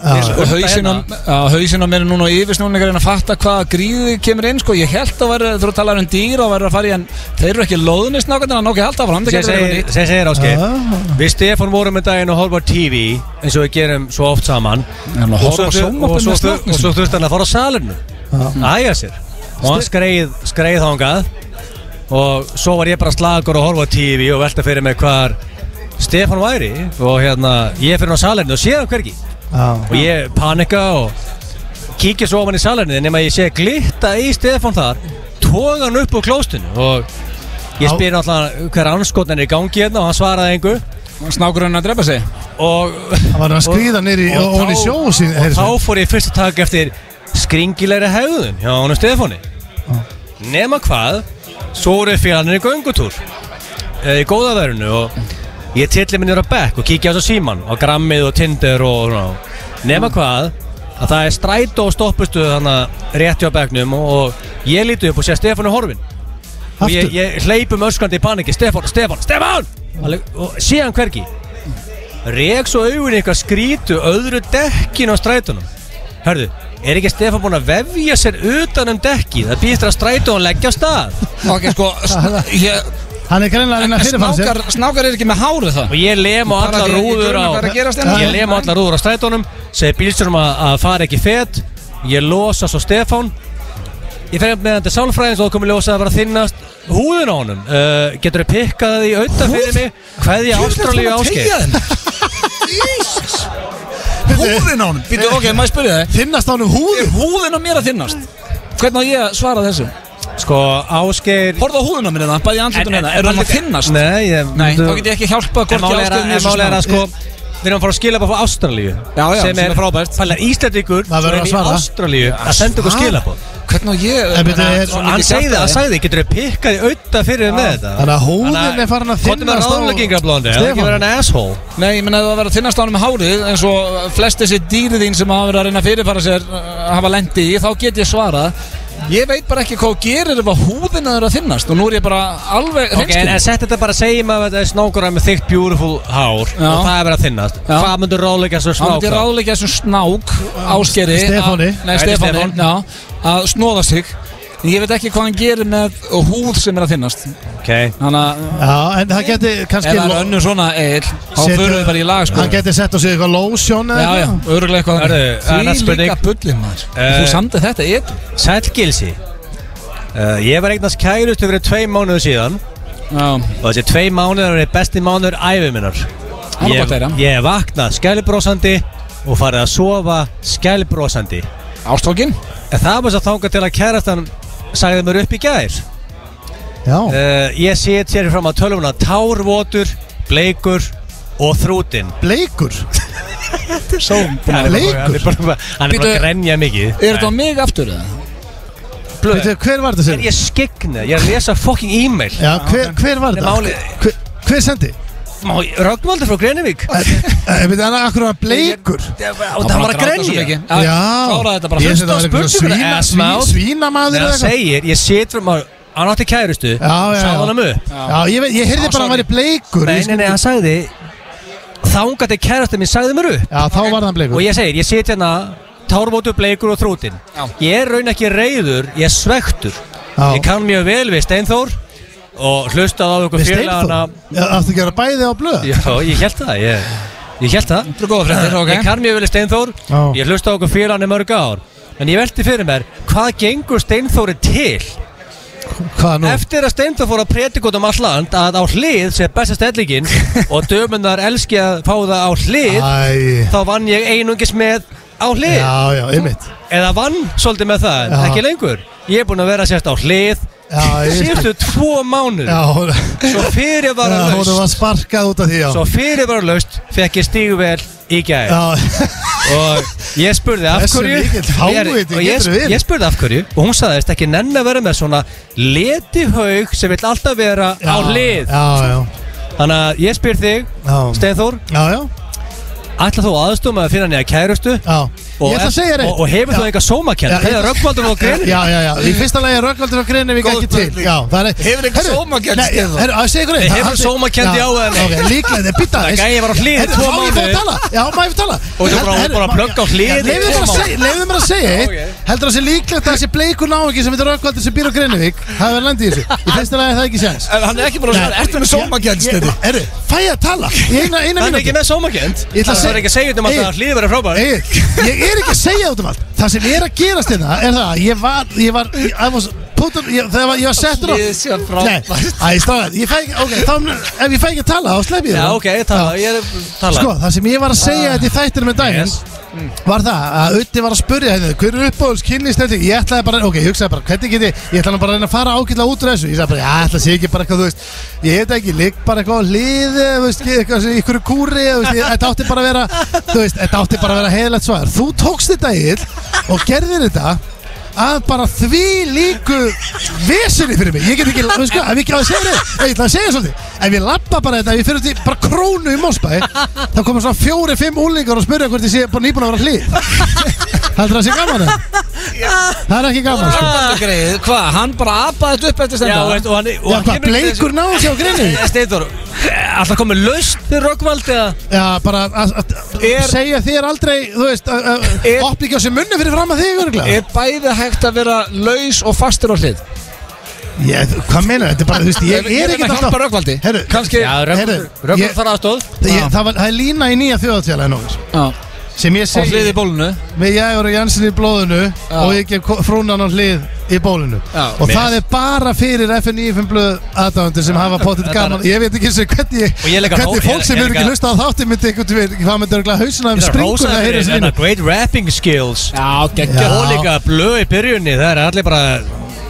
hausinn á- á- hausinn á mér er núna og yfirsnúin er að reyna að fatta hvaða gríði kemur inn sko. Ég held að vera, þú talar um dýr og vera að fara í en þeir eru ekki loðnist nákvæmlega að nokkuð halda fram, það Sem getur verið segir, eitthvað sem segir Ásgeir Ah. Við Stefán vorum með daginn og horfa á TV eins og við gerum svo oft saman hann að Og horfa svo á þur- sjónvarpið og með svo Ah. þur- snáknum og svo þurfti hann að fara á salinu Æja sér Og hann skreið, skreið þangað Og svo var ég bara slagur og horfa á TV og velta fyrir mig hvar Stefán væri og hérna ég fyrir hann á salinu og sé hann hvergi og ég panika og kíkja svo á hann í salerni nema ég sé glitta í Stefán þar toga hann upp úr klóstinu og ég spyr náttúrulega hver anskotnin er í gangi hérna og hann svaraði engu snákur hann hérna að drepa sig og Hann var að skríða niður í- og ofan í þá- sjó og sín- heyrðu og þá fór ég fyrst að taka eftir skringilegri hegðun hjá honum Stefáni nema hvað svo voru félagarnir í göngutúr eh, í góðaverðinu og ég tilli minni á bekk og kíkja á svo síman á grammið og tindir og svona nema hvað að það er strætó og stoppustuð þannig rétti á bekknum og ég líti upp og sé að Stefán er horfin og ég, ég hleypum öskandi í paniki Stefán, Stefán, Stefán Alveg, og sé hann hvergi Rek svo augun eitthvað skrítu öðru dekkin á strætunum Hörðu, er ekki Stefán búinn að vefja sér utan um dekki? Það býttir að strætunum leggja á stað Ok, sko, sn- ég, Hann er greinlega að reyna að fyrirfara sér snákar, snákar er ekki með hárið það Og ég lem á Ég alla bara- ég- ég rúður gruna hvað er að gerast á hérna. Ég lem á alla rúður á strætunum Segir bílstjórum að, að fara ekki fet Ég losa svo Stefán Ég fer með hann til sálfræðins og það komið ljósa að vera að þinnast húðin á honum uh, Getur þið pikkað það í auðvitað fyrir mig Hvað ég ástralíu áskeið Húðin á hann Býtu, ok, maður spyrja það Þinnast á hann um húðin Húðin á mér að þinnast Hvernig á ég að svara þessu? Sko, Ásgeir Horfðu á húðin á mér það, bæði andlutun hérna Er hann að þinnast? Nei, ég, Nei, þá get ég ekki hjálpað En hvorki málega er Ásgeir að- né en málega er að sko Snæ. Við erum að fara að skila bara frá Ástralíu Já, já, sem er frábært. Þannig að Íslandingur Maður verður að sem er í svara. Ástralíu að senda okkur Ah. skila bara Hvernig á ég En byrju, er- Svona Hann mikið segði það, hjarta, hann ég- sagði, getur þið pikkað í auðvitað fyrir þið með þetta Þannig að húðin er farin að Hvort er með þynnast á- ráðleggingablóndi, það er ekki Stefán. verið hann asshole Nei, ég menna að það verður að þinnast á hann með hárið eins og flest þessi dýri þín sem hafa verið að reyna að fyrirfara sér uh, hafa lendi í, þá get ég svarað Ég veit bara ekki hvað þú gerir ef að húðin að er að þinnast og nú er ég bara alveg Ok, en, en reynskinn sett þetta bara að segja maður að þetta er snákur með þykkt beautiful hár og það er verið að þinnast Hvað myndur ráðleggja svo Þá myndi ég snákur? ráðleika þessum snák áskeri Stefáni. að- Nei, Nei, Stefáni, Stefán. já, að snóða sig En Ég veit ekki hvað hann gerir með húð sem er að þinnast Ok Þannig að Já, en það geti ef kannski það er önnur svona eil þá Setur- förum við bara í lag sko Hann geti sett á sig eitthvað lotion eða Já, já, eitthvað. öruglega eitthvað Hörðu, þannig. Eh, Því annars spurning. líka bullin maður Eh, Þú samdi þetta, ég Sæll Gilsi Uh, ég var eignast kærustu fyrir tvei mánuðu síðan Já. og þessi tvei mánuður er besti mánuður æfiminnar Það er gott að heyra. Ég hef vaknað skælbrósandi og farið að sofa skælbrósandi Ástókin? Það var svo þangað til að kærastan sagði mér upp í gæðir Já Eh, Ég sit hér fram að tölvuna tárvotur, bleikur og þrútin Bleikur? Svo Hann er bara hann er bara að Bíddu, grenja mikið Er þetta á mig aftur eða? Veitu, hver var þetta sem? Er ég skegna? Ég er að lesa fucking e-mail Já, hver, hver var Nei, þetta? málið- Hver, hver sendi? Rögnvaldur frá Greinivík Ég veit að hann akkur var bleikur Það var að grenja Já Kláraði þetta bara Ég Fyrsta þetta var eitthvað svína- spurninguna eða sví- smátt. svínamaður Þegar eða hann eitthvað. segir Ég situr maður Hann átti Já, kærustu já, já. Sáði hann um upp Já, ég veit- ég heyrði Á, bara að hann sorry. væri bleikur, ég Nei, nei, skildi. nei, hann sagði Þángat er kærastum minn sagði mér upp Já, þá var hann bleikur Og ég segir Ég sit hérna Tármótu bleikur og þrútin Ég er raun ekki reyður Ég er svektur Já. Ég kann mjög vel við Steinþór Og hlustaði á ykkur Við félagana Steinþór? Já, Áttu ekki að vera bæði á blöð? Já, ég held það, ég, ég held það Það er góða fréttir, ok. Ég kann mjög vel Steinþór, Já. ég hlusta á okkur félagann í mörg ár En ég velti fyrir mér, hvað gengur Steinþóri til? Hvað nú? Eftir að Steinþór fór að predika út um all land að á hlið sé besta stellingin og dömunar elski að fá það á hlið Æ. þá vann ég einungis með á hlið Ah. Já, já, einmitt. Eða vann svolítið með það, en Já. ekki lengur Ég er búinn að vera sérst á hlið Já, ég- Sérstu tvo mánuð Já, hún- Svo fyrir var Já, að hún var sparkað út af því, já Svo fyrirvaralaust fekk ég stíguvel í gæð Og ég spurði af Þessu hverju mikill fáviti Og ég, getur verið. ég spurði af hverju Og hún sagðist ekki nenn að vera með svona Leti haug sem vill alltaf vera á hlið Já, já Þannig að ég spyr þig, Steinþór Já, já Ætla þú aðstum að finna nýja kærustu Já Og, Ég ætla að segja þér eitt. og, og hefur þú Já. eitthvað sómakenn Já, ég Þegar ætla- Röggvaldur og Greinin Já, já, já, í fyrsta lagi er Röggvaldur og Greinivík Góð ekki til spurning. Já, það er Hefur ekki Herru, sómakennd, Nei, Stefán? herru, að segja ykkur eitt Nei, hefur Hann- sómakennd, já eða nei? Ok, líklega, þetta er býta Það gæi var á hlið í tvo Má ég fá að mánuði. tala? Já, má ég fá að tala? Og þú bara- bara að plugga á hlið í Leifðu tvo mér að mánuði. segja, leifðu mér að segja eitt Heldur það sé líklegt að þessi bleikur náungi sem heitir Röggvaldur sem býr á Greinivík Það er landið í þessu Í fyrsta lagi er það ekki séns En hann er ekki búin að svara, ertu með sómakennd, Ég- Stefán? Herru, fæ ég að tala Í eina, eina Hann er mínútu. ekki með sómakennd Ég ætla að Það segja- er ekki að segja um að Egill. það hlið verið frábær Egil, ég er ekki að segja út um allt Það sem er að gerast hérna er það að Ég var, ég var, ég I was put on ég, Þegar var- ég var settur á Ég sé að frábært. Nei, æ, stáðan, ég fæ ekki, ok, þá Ef ég fæ ekki að tala, þá slepp ég Já, það. ok, tala, ég er tala Ah. Ah. Sko, það sem ég var að segja þetta í þættinu með daginn Var það að Utti var að spurja henni Hver er uppáhalds kynlýstending? Ég ætlaði bara, ok, ég hugsaði bara Hvernig geti, ég ætlaði nú bara að reyna að fara ágætlega út úr þessu Ég sagði bara, já, ætla að sé ekki bara eitthvað, þú veist Ég heit ekki, ligg bara eitthvað á hliði þú veist, ge- Eitthvað sem ykkur kúri þú veist, ég- Þetta átti bara að vera, þú veist Þetta átti bara að vera heiðlegt svar Þú tókst þetta Egill, og gerðir þetta að bara því líku vesinni fyrir mig, ég get ekki sko, ef ég ekki að segja þetta, ég ætla að segja svolítið ef ég lappa bara þetta, ef ég fyrir til bara krónu í Mosbæ, þá koma svona fjóri, fimm úlingar og spyrja hvort ég sé bara nýbúin að vera hlýð heldur það að sé gaman eða? það er ekki Ah. gaman sko. Hvað, hann bara apaði þetta upp eftir Já, stendur veist, og hann, og Já, hann hvað, kemur ekki bleikur náðu sér á grinni? Eh, Steindór, alltaf komið laust fyrir Röggvaldi að Já, bara að að- Er- segja þér aldrei, þú veist að- að- opna ekki á sér munni fyrir fram að þig örugglega. Er bæði hægt að vera laus og fastur á hlið? Ég, hvað meina, þetta er bara, þú veist, ég Ég er reyna ekki að hjálpa Rögnvaldi. Herru, Kannski- Já, Rögn- Heyrðu, Rögnvaldur Eh, ég- þarf aðstoð. Ég- Ah. Já. Það var- það er lína í nýja þjóðatjálæðin okkur Sem ég Á segi hlið í bólunu Með Jægur og Jansson í blóðinu Og ég gef ko- frúnan á hlið í bólinu Já. Og Mér- það er bara fyrir FNÍFM blöð aðdáðundur sem hafa potið þetta gaman er- Ég veit ekki eins og hvernig, ég- Og ég leika hvernig hó- fólk ég- sem ég eru ekki leika- hlusta á þátti myndi einhvern veginn hvað myndi örgulega hausina um Ég er að springur rósa að heyra fyrir hérna, sér þetta great rapping skills Já, geggjað. Og líka blöð í byrjunni, það er allir bara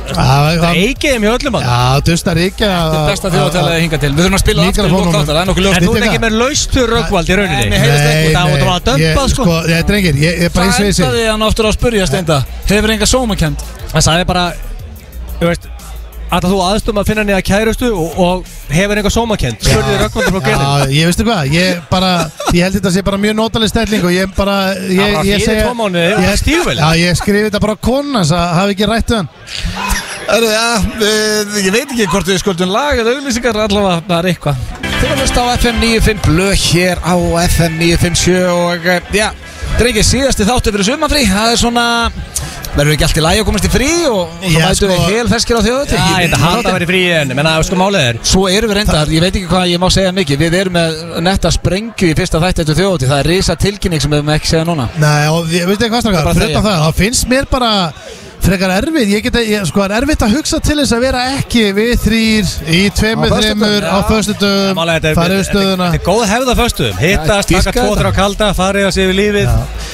Eikiðum í öllum hann Já, dustar ekki að Þetta er besta þjóðatælaði hinga til Við þurfum að spila aftur í Mikrofónunum. lók þáttar, það er nokkuð ljóst En þú ert ekki með laust fyrir Röggvaldi í Nei, rauninni Nei, Það var nei, bara að dömpa ég- sko sko, ég- drengir, ég er bara eins og Það ég segi. endaði hann aftur á að spurja steinda Hefur enga sómakend Það sagði bara, þú veist Alltaf þú aðstum að finna nýja kærustu og, og hefur einhver sómakend Spurði Röggvaldi frá Greinin Já, ég veistu hvað, ég bara Ég held þetta sé bara mjög notaleg stelling og ég bara Það Ég, var ég fyrir tvo mánuði og ég- stígvél. Já, ég skrifi þetta bara á konuna Það hafi ekki rættu hann Erðu, já, við, ég veit ekki hvort við skuldum lag eða auglýsingar allavega, það er eitthvað Þeir eru að hlusta á FM 95 blöð hér á FM 957 og eh, já, drengið síðasti þáttu fyrir sumafrí, það er svona verður ekki allt í lagi að komast í frí og, og Já, það mætu við sko. hel feskir á þjóðatíð Já, ég þetta handa að vera í fríi en Menna, sko málið er Svo erum við reyndar, ég veit ekki hvað ég má segja mikið Við erum með netta sprengju í fyrsta þætti eftir þjóðatíð Það er risa tilkynning sem við höfum ekki segja núna Nei, og ég, veistu Það er hvað strafgar, bara að fyrir þegja. það, það finnst mér bara frekar erfið ég geta, ég, sko, er erfitt að hugsa til þess að vera ekki við þrýr í tveimur, þreimur á föstudum farið stöðuna Þetta er góð hefða föstuðum Hittast, Já, taka dýrka tvo, þetta. þrjá kalda, farið að sé við lífið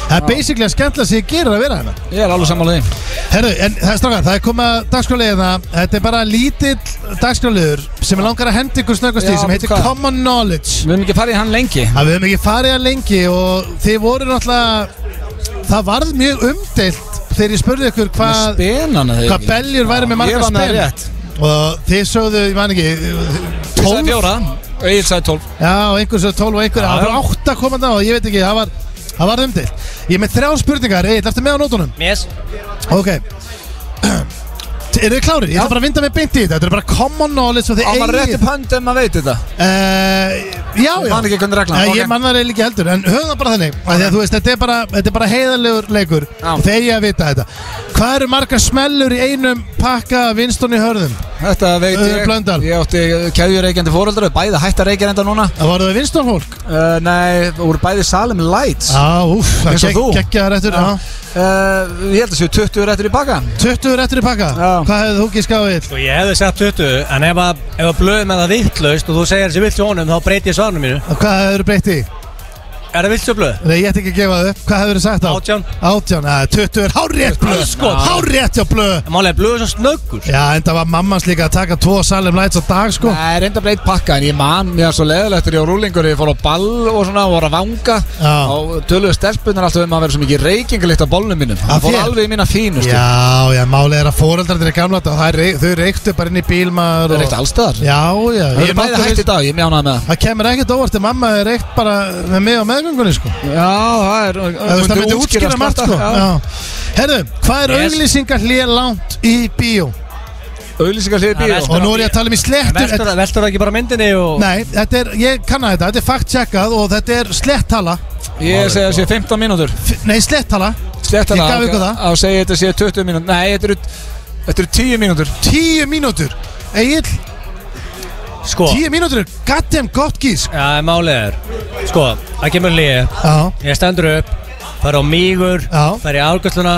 Það er basically að skemmtla sig að gera að vera hérna Ég er alveg sammála því Herru, en það er strákar, það er komið að dagskráliðina Þetta er bara lítill dagskráliður sem er langar að henda ykkur snöggast í Já, sem heitir hvað? Common Knowledge Við höfum ekki farið í hann lengi Við höfum ekki farið hann lengi og þið voru náttúrulega það varð mjög umdeilt þegar ég spurði ykkur hvað Með spenana, þegar hvað ekki. beljur Já, væri með ég marga var með spen rétt. og þið sögðu, ég man ekki 12 fjóra, Egil sagði 12 Já, og einhver svo 12 og einhver Það var 8 komandi á og ég veit ekki, það var, það var umdilt Ég er með þrjá spurningar, Egil, ertu með á nótunum? Yes Ok Eru þið klárir? Ég ætla bara að vinda mig beint í þetta Þetta er bara common knowledge og þið Á maður rétt upp hönd ef maður veit þetta uh, Já, já Ég man ekki hvernig reglan, Nei, ok. Ég man það eiginlega ekki heldur En höfum það bara þannig okay. Þegar þú veist, þetta er bara, þetta er bara heiðarlegur leikur Þegar ég að vita þetta Hvað eru margar smellur í einum pakka Vinstón í hörðum? Þetta veit Auður ég Blöndal. Ég átti keðjureikjandi fóröldra Bæði hætt að reikja enda núna Það voru það vinstón fólk? Uh, nei, þú voru bæði Salem Lights Já, úf, það Eins og gegg- þú geggjaðar réttur, Ah. já. uh, Ég held að séu 20 réttur í baka 20 réttur í pakka? Já. Hvað hefði þú gískað á Egil? Sko ég hefði sett 20 En ef að, ef að blöð með það vittlaust og þú segir þessi vilt hjá honum þá breyti ég svarnum mínu Hvað hefur breytt í? Er það vilt hjá blöð? Nei, ég ætti ekki að gefa það upp. Hvað hefur þið sagt á? 18. 18, að 20 er hárétt blöð. Sko. Hárétt hjá blöð. Málega blöð er svo snöggur. Já, en það var mammans líka að taka tvo Salem Lights á dag, sko. Nei, reynda breytt pakka En ég man mér svo leðilegt Þegar ég á rúlingur Ég fór á ball og svona Og var að vanga Já. Og töluðu stelpunar alltaf um að vera svo mikið reykingalikt á bollnum mínum Það fór þér? alveg í mína fínustu Já, já, málið er að fóreldrarnir er gamla þetta og það er reik- þau reyktu bara inn í bílmaður Það er eitt allstaðar Já, já Það eru bæði hætt í dag, ég mjánaði með það Það kemur ekkert óvart ef mamma er reykt bara með mig á meðgöngunni, sko Já, það er Það, það myndi útskýra margt, sko já. Herðu, hvað er yes. Yes. langt í bíó? Auglýsingar hlið bíó Og nú er ég að tala um í slettu Veltur veltur það ekki bara myndinni og Nei, þetta er, ég kanna þetta, þetta er fact-checkað og þetta er slettala Ég segi að sé 15 mínútur Nei, slettala Slettala Ég gaf ykkur það Á segi þetta sé 20 mínútur Nei, þetta eru Þetta eru 10 mínútur 10 mínútur Egil, Sko 10 mínútur er goddamn gott gísk Já, það er málið er Sko, það kemur lið Ég stendur upp Fær á mígur Fær í árgösluna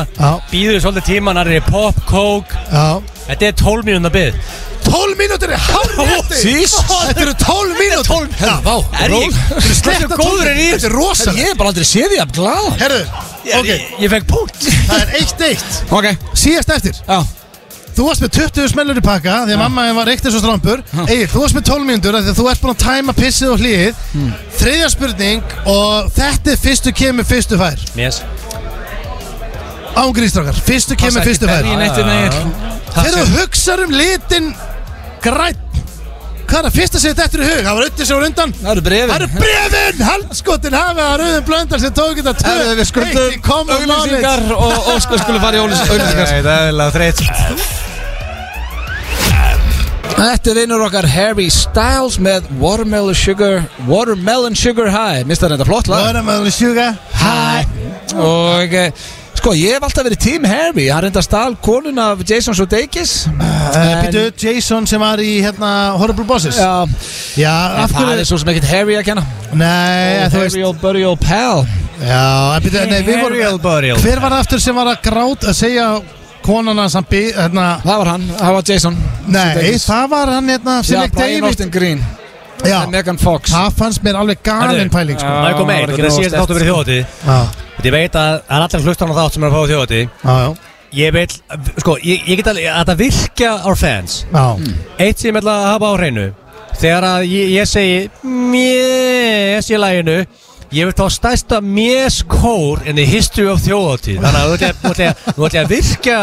Býður svolítið tíman Það er pop, kók Já. Þetta er 12 mínúna bið 12 mínútur er hálfrétti Þetta eru 12 mínútur Herra, vá Er ég- Sletta góður en ég? Þetta er rosa Ég er bara aldrei séð því að gláða Herru, ok Ég fekk punkt Það er eitt eitt Ok Síðast eftir Já Þú varst með 20 smellur í pakka því að mamma þín var eitt eins og strampur Egil, þú varst með 12 mínútur af því að þú ert búin að tæma pissið og hlýð Þriðja spurning og þetta er fyrstu kemur fyrstu fær Yes Ángríðstrákar, fyrstu kemur fyrstu fær Þegar þú hugsar um litin græn Hvað er að fyrsta sem þetta er í hug? Það var auðvitað sem var undan Það eru brefin Það eru brefin! Haldskotin hafa að rauðum blöndar sem tók þetta tvö Herru, við skuldum Eitt í common auglýsingar knowledge. og- og sko- skulum fara í auglýs- auglýsingar. Nei, það er vel þreitt Þetta er vinnur okkar Harry Styles með Watermelon Sugar Watermelon Sugar High Mistar þetta flott lag Watermelon Sugar High Og eh, sko ég hef alltaf verið Team Harry Hann reynda stál konun af Jason Sudeikis Uh, Býtu, Jason sem var í hérna Horrible Bosses Já, Já af En það hverju er svo sem ekkert Harry að kenna sko- Nei, þú veist Harry og Buddy og Pal Já, en býtu, nei, Harry við og vorum Buddy og- Hver var það aftur sem var að grát að segja konana sem býð, hérna Það var hann, það var Jason Nei, Sudeikis. það var hann Já, hérna Sinek Brian David Austin Green Já. Megan Fox Það fannst mér alveg galin pæling sko. Michael May, þetta er síðast þáttu sko. verið þjóti Ég veit að það er allir hlustan á þátt sem er að fá þjóti Já, Ég veit, sko, ég, ég get alveg að það virkja our fans Já Eitt sem ég ætla að hafa á hreinu Þegar að ég, ég segi Mjess í læginu Ég vil þá stæsta mjess kór In the history of þjóðatíð Þannig að þú ætla- þú ætla- þú ætla að virkja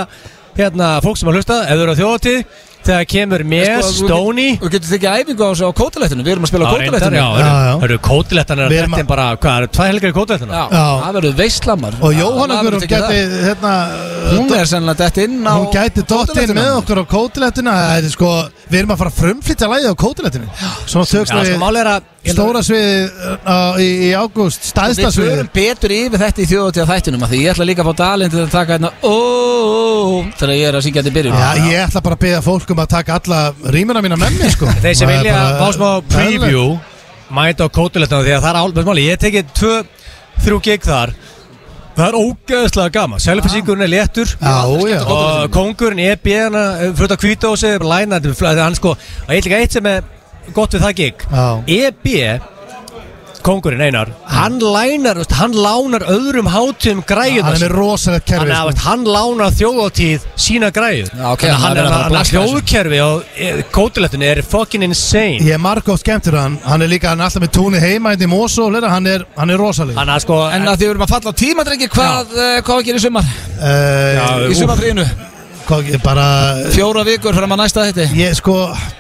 Hérna, fólk sem að hlusta Ef þú eru á þjóðatíð Þegar kemur mjess, Sko, þú- stóni Þú getur tekið æfingu á þessu á kótilettinu Við erum að spila á kótilettinu Já, það eru kótilettan Er Við erum þetta bara, hvað, eru tvær helgar í kótilettuna? Já, það verður veistlamar Og Jóhanna Það verður Guðrún tekið gæti, það. hérna Hún er sennilega dætt inn á Hún gæti dottinn kótilettina. með okkur á kótilettina Það er sko, við erum að fara að frumflytja lægið á kótilettinu Svona tökst Já, sko, málið er að- við stóra sviði uh, í, í ágúst, stæðsta Við sviði förum betur yfir þetta í þjóðatíða þættinum af Því ég ætla líka að fá dalinn til að taka hérna Óóóó Þegar ég er að syngja þetta í byrjun Já, ég ætla bara að beða fólkum að taka alla rýmuna mína með mér sko Þeir sem Það er vilja bara- fá smá preview Mæta á kótilettuna Því að það er álbæðsmáli Ég hef tekið tvö, þrjú gig þar Það er ógeðslega gaman Selfisíkurinn er léttur Já, já Og kongurinn er björna eh, Fyrir að hvita og segja Læna Þetta er hann sko Það er líka eitt sem er Gott við það gig EB Kongurinn einar Hann lænar veist, Hann lánar öðrum hátum græðuna Hann er með rosalegt kerfi, Þannig sko. að veist, hann lánar þjóðátíð Sína græðu ok, Þannig hann að hann er er að fara að Hann er blasta þessu. hljóðkerfi Og kótilettunni er fucking insane Ég er margótt skemmtur hann Hann er líka, hann er alltaf með túnið heima Þetta í Mosó og fleira, hann er, hann er rosaleg Hann er sko En að því við erum að falla á tíma, drengi, hvað, eh, hvað á að gera í sumar? uh, Í sumarfríinu Hvað, ég bara Fjóra vikur fyrir að næsta þetta Ég sko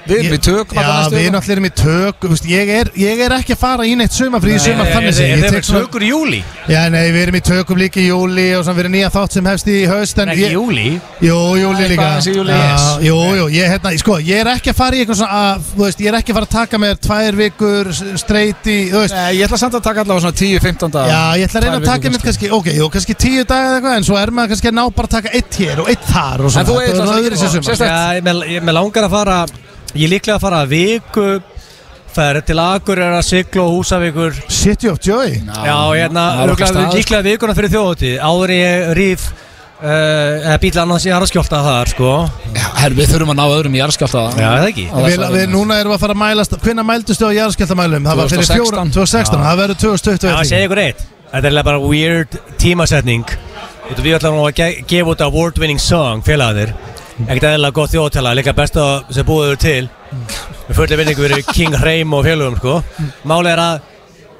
Við erum í tökum alla Já, næstu við viku. náttúrulega erum í tök þú veist, ég, er, ég er ekki að fara í neitt sumafrí í sumar þannig séð. Ég Er tek þeir svona- tökur í júli? Já, nei, við erum í tökum líka í júli og svona við erum nýja þátt sem hefst í haust en Nei, ekki ég- júli Jú, júli Það er líka bara þessi júlí, Já, yes. Jú, jú, ég, hérna, sko, ég er ekki að fara í eitthvað svona að, þú veist, ég er ekki að fara að taka mér tvær vikur streyti, þú veist Nei, ég ætla samt að taka allavega svona 10-15 dag Já, ég ætla að reyna að taka mér kannski, ok, jú, kannski tíu daga eða eitthvað, en svo er maður kannski að ná bara að taka eitt hér og eitt þar og svona Þetta er öðruvísi sumar. Já, ég- ég- Mér langar að fara Ég er líklega að fara að viku Færi til Akur er að sigla og húsavíkur City of Joy Já, hérna örugglega- Líklega sko. vikuna fyrir þjóðatíð Áður en ég rýf Uh, eða bíl annars í jarðskjálta þar sko Herru, við þurfum að ná öðrum í jarðskjálta Já, er það ekki Við, við núna erum við að fara að mælast Hvenna mældustu á jarðskjaldamælum? Það var fyrir 2016. fjórum 2016, Já. það verður Já, ég 2021 segi ykkur eitt Þetta er eiginlega bara weird tímasetning Þú veit, Við ætlum nú að ge gefa út award winning song félagarnir Ekkert eðlilega gott þjóðtala Líka besta sem búið eru til Við fullir vinningu verið King Hreim og félagum sko. Máli er að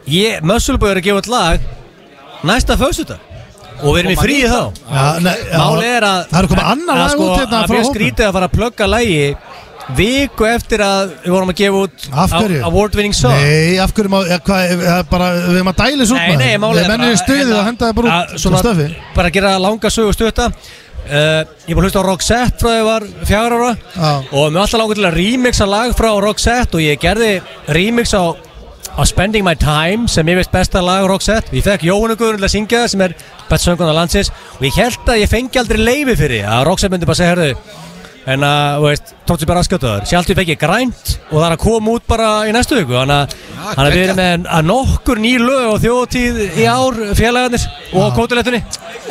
ég, Mössulbúi er að gefa út lag Næsta föstudag Og við erum í fríi þá Já, nei, já. Máli er að Það er að koma annað að sko, lag út hérna að frá mér hópnum. skrítið að fara að plugga lagi Viku eftir að við vorum að gefa út Af hverju? Award winning song Nei, af hverju má, ja, hva, ja, bara, Við erum að dæla þessu út Nei, nei, málið hérna, Við mennum í stuðið og henda það bara að- út svona, Svona stöfi Bara gera langa sögu stutta uh, Ég búið að hlusta á Roxette frá ég var fjár ára Og mér var alltaf langar til að remixa lag frá Roxette Og ég gerði remix á, á Spending My Time Sem ég veist besta lag Roxette Ég fekk Jóhannu Guðurinn til að syngja það Sem er best söngunar landsins Og ég held að ég fengi aldrei leifi fyrir því, Að Roxette myndi bara segja, herðu En að, þú veist, tótt sér bara aðskjötaður Sjálfur fekk ég grænt og það er að koma út bara í næstu viku Þannig að- þannig að við erum með að nokkur ný lög og þjóðtíð í ár félagarnir og kótilettunni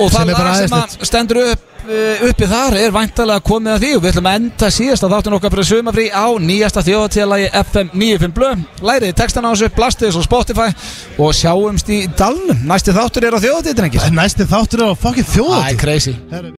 Og það lag sem að stendur upp, eh, uppi þar er væntalega komið að því og við ætlum að enda síðasta þáttin okkar fyrir sumafrí á nýjasta þjóðatélagi FM 95 Blö Læriði textan á þessu, blastið þessu á Spotify og sjáumst í dalnum Næsti þáttur er á þjóðatíð, drengir Næsti þáttur er á fucking þjóðatíð Æ, crazy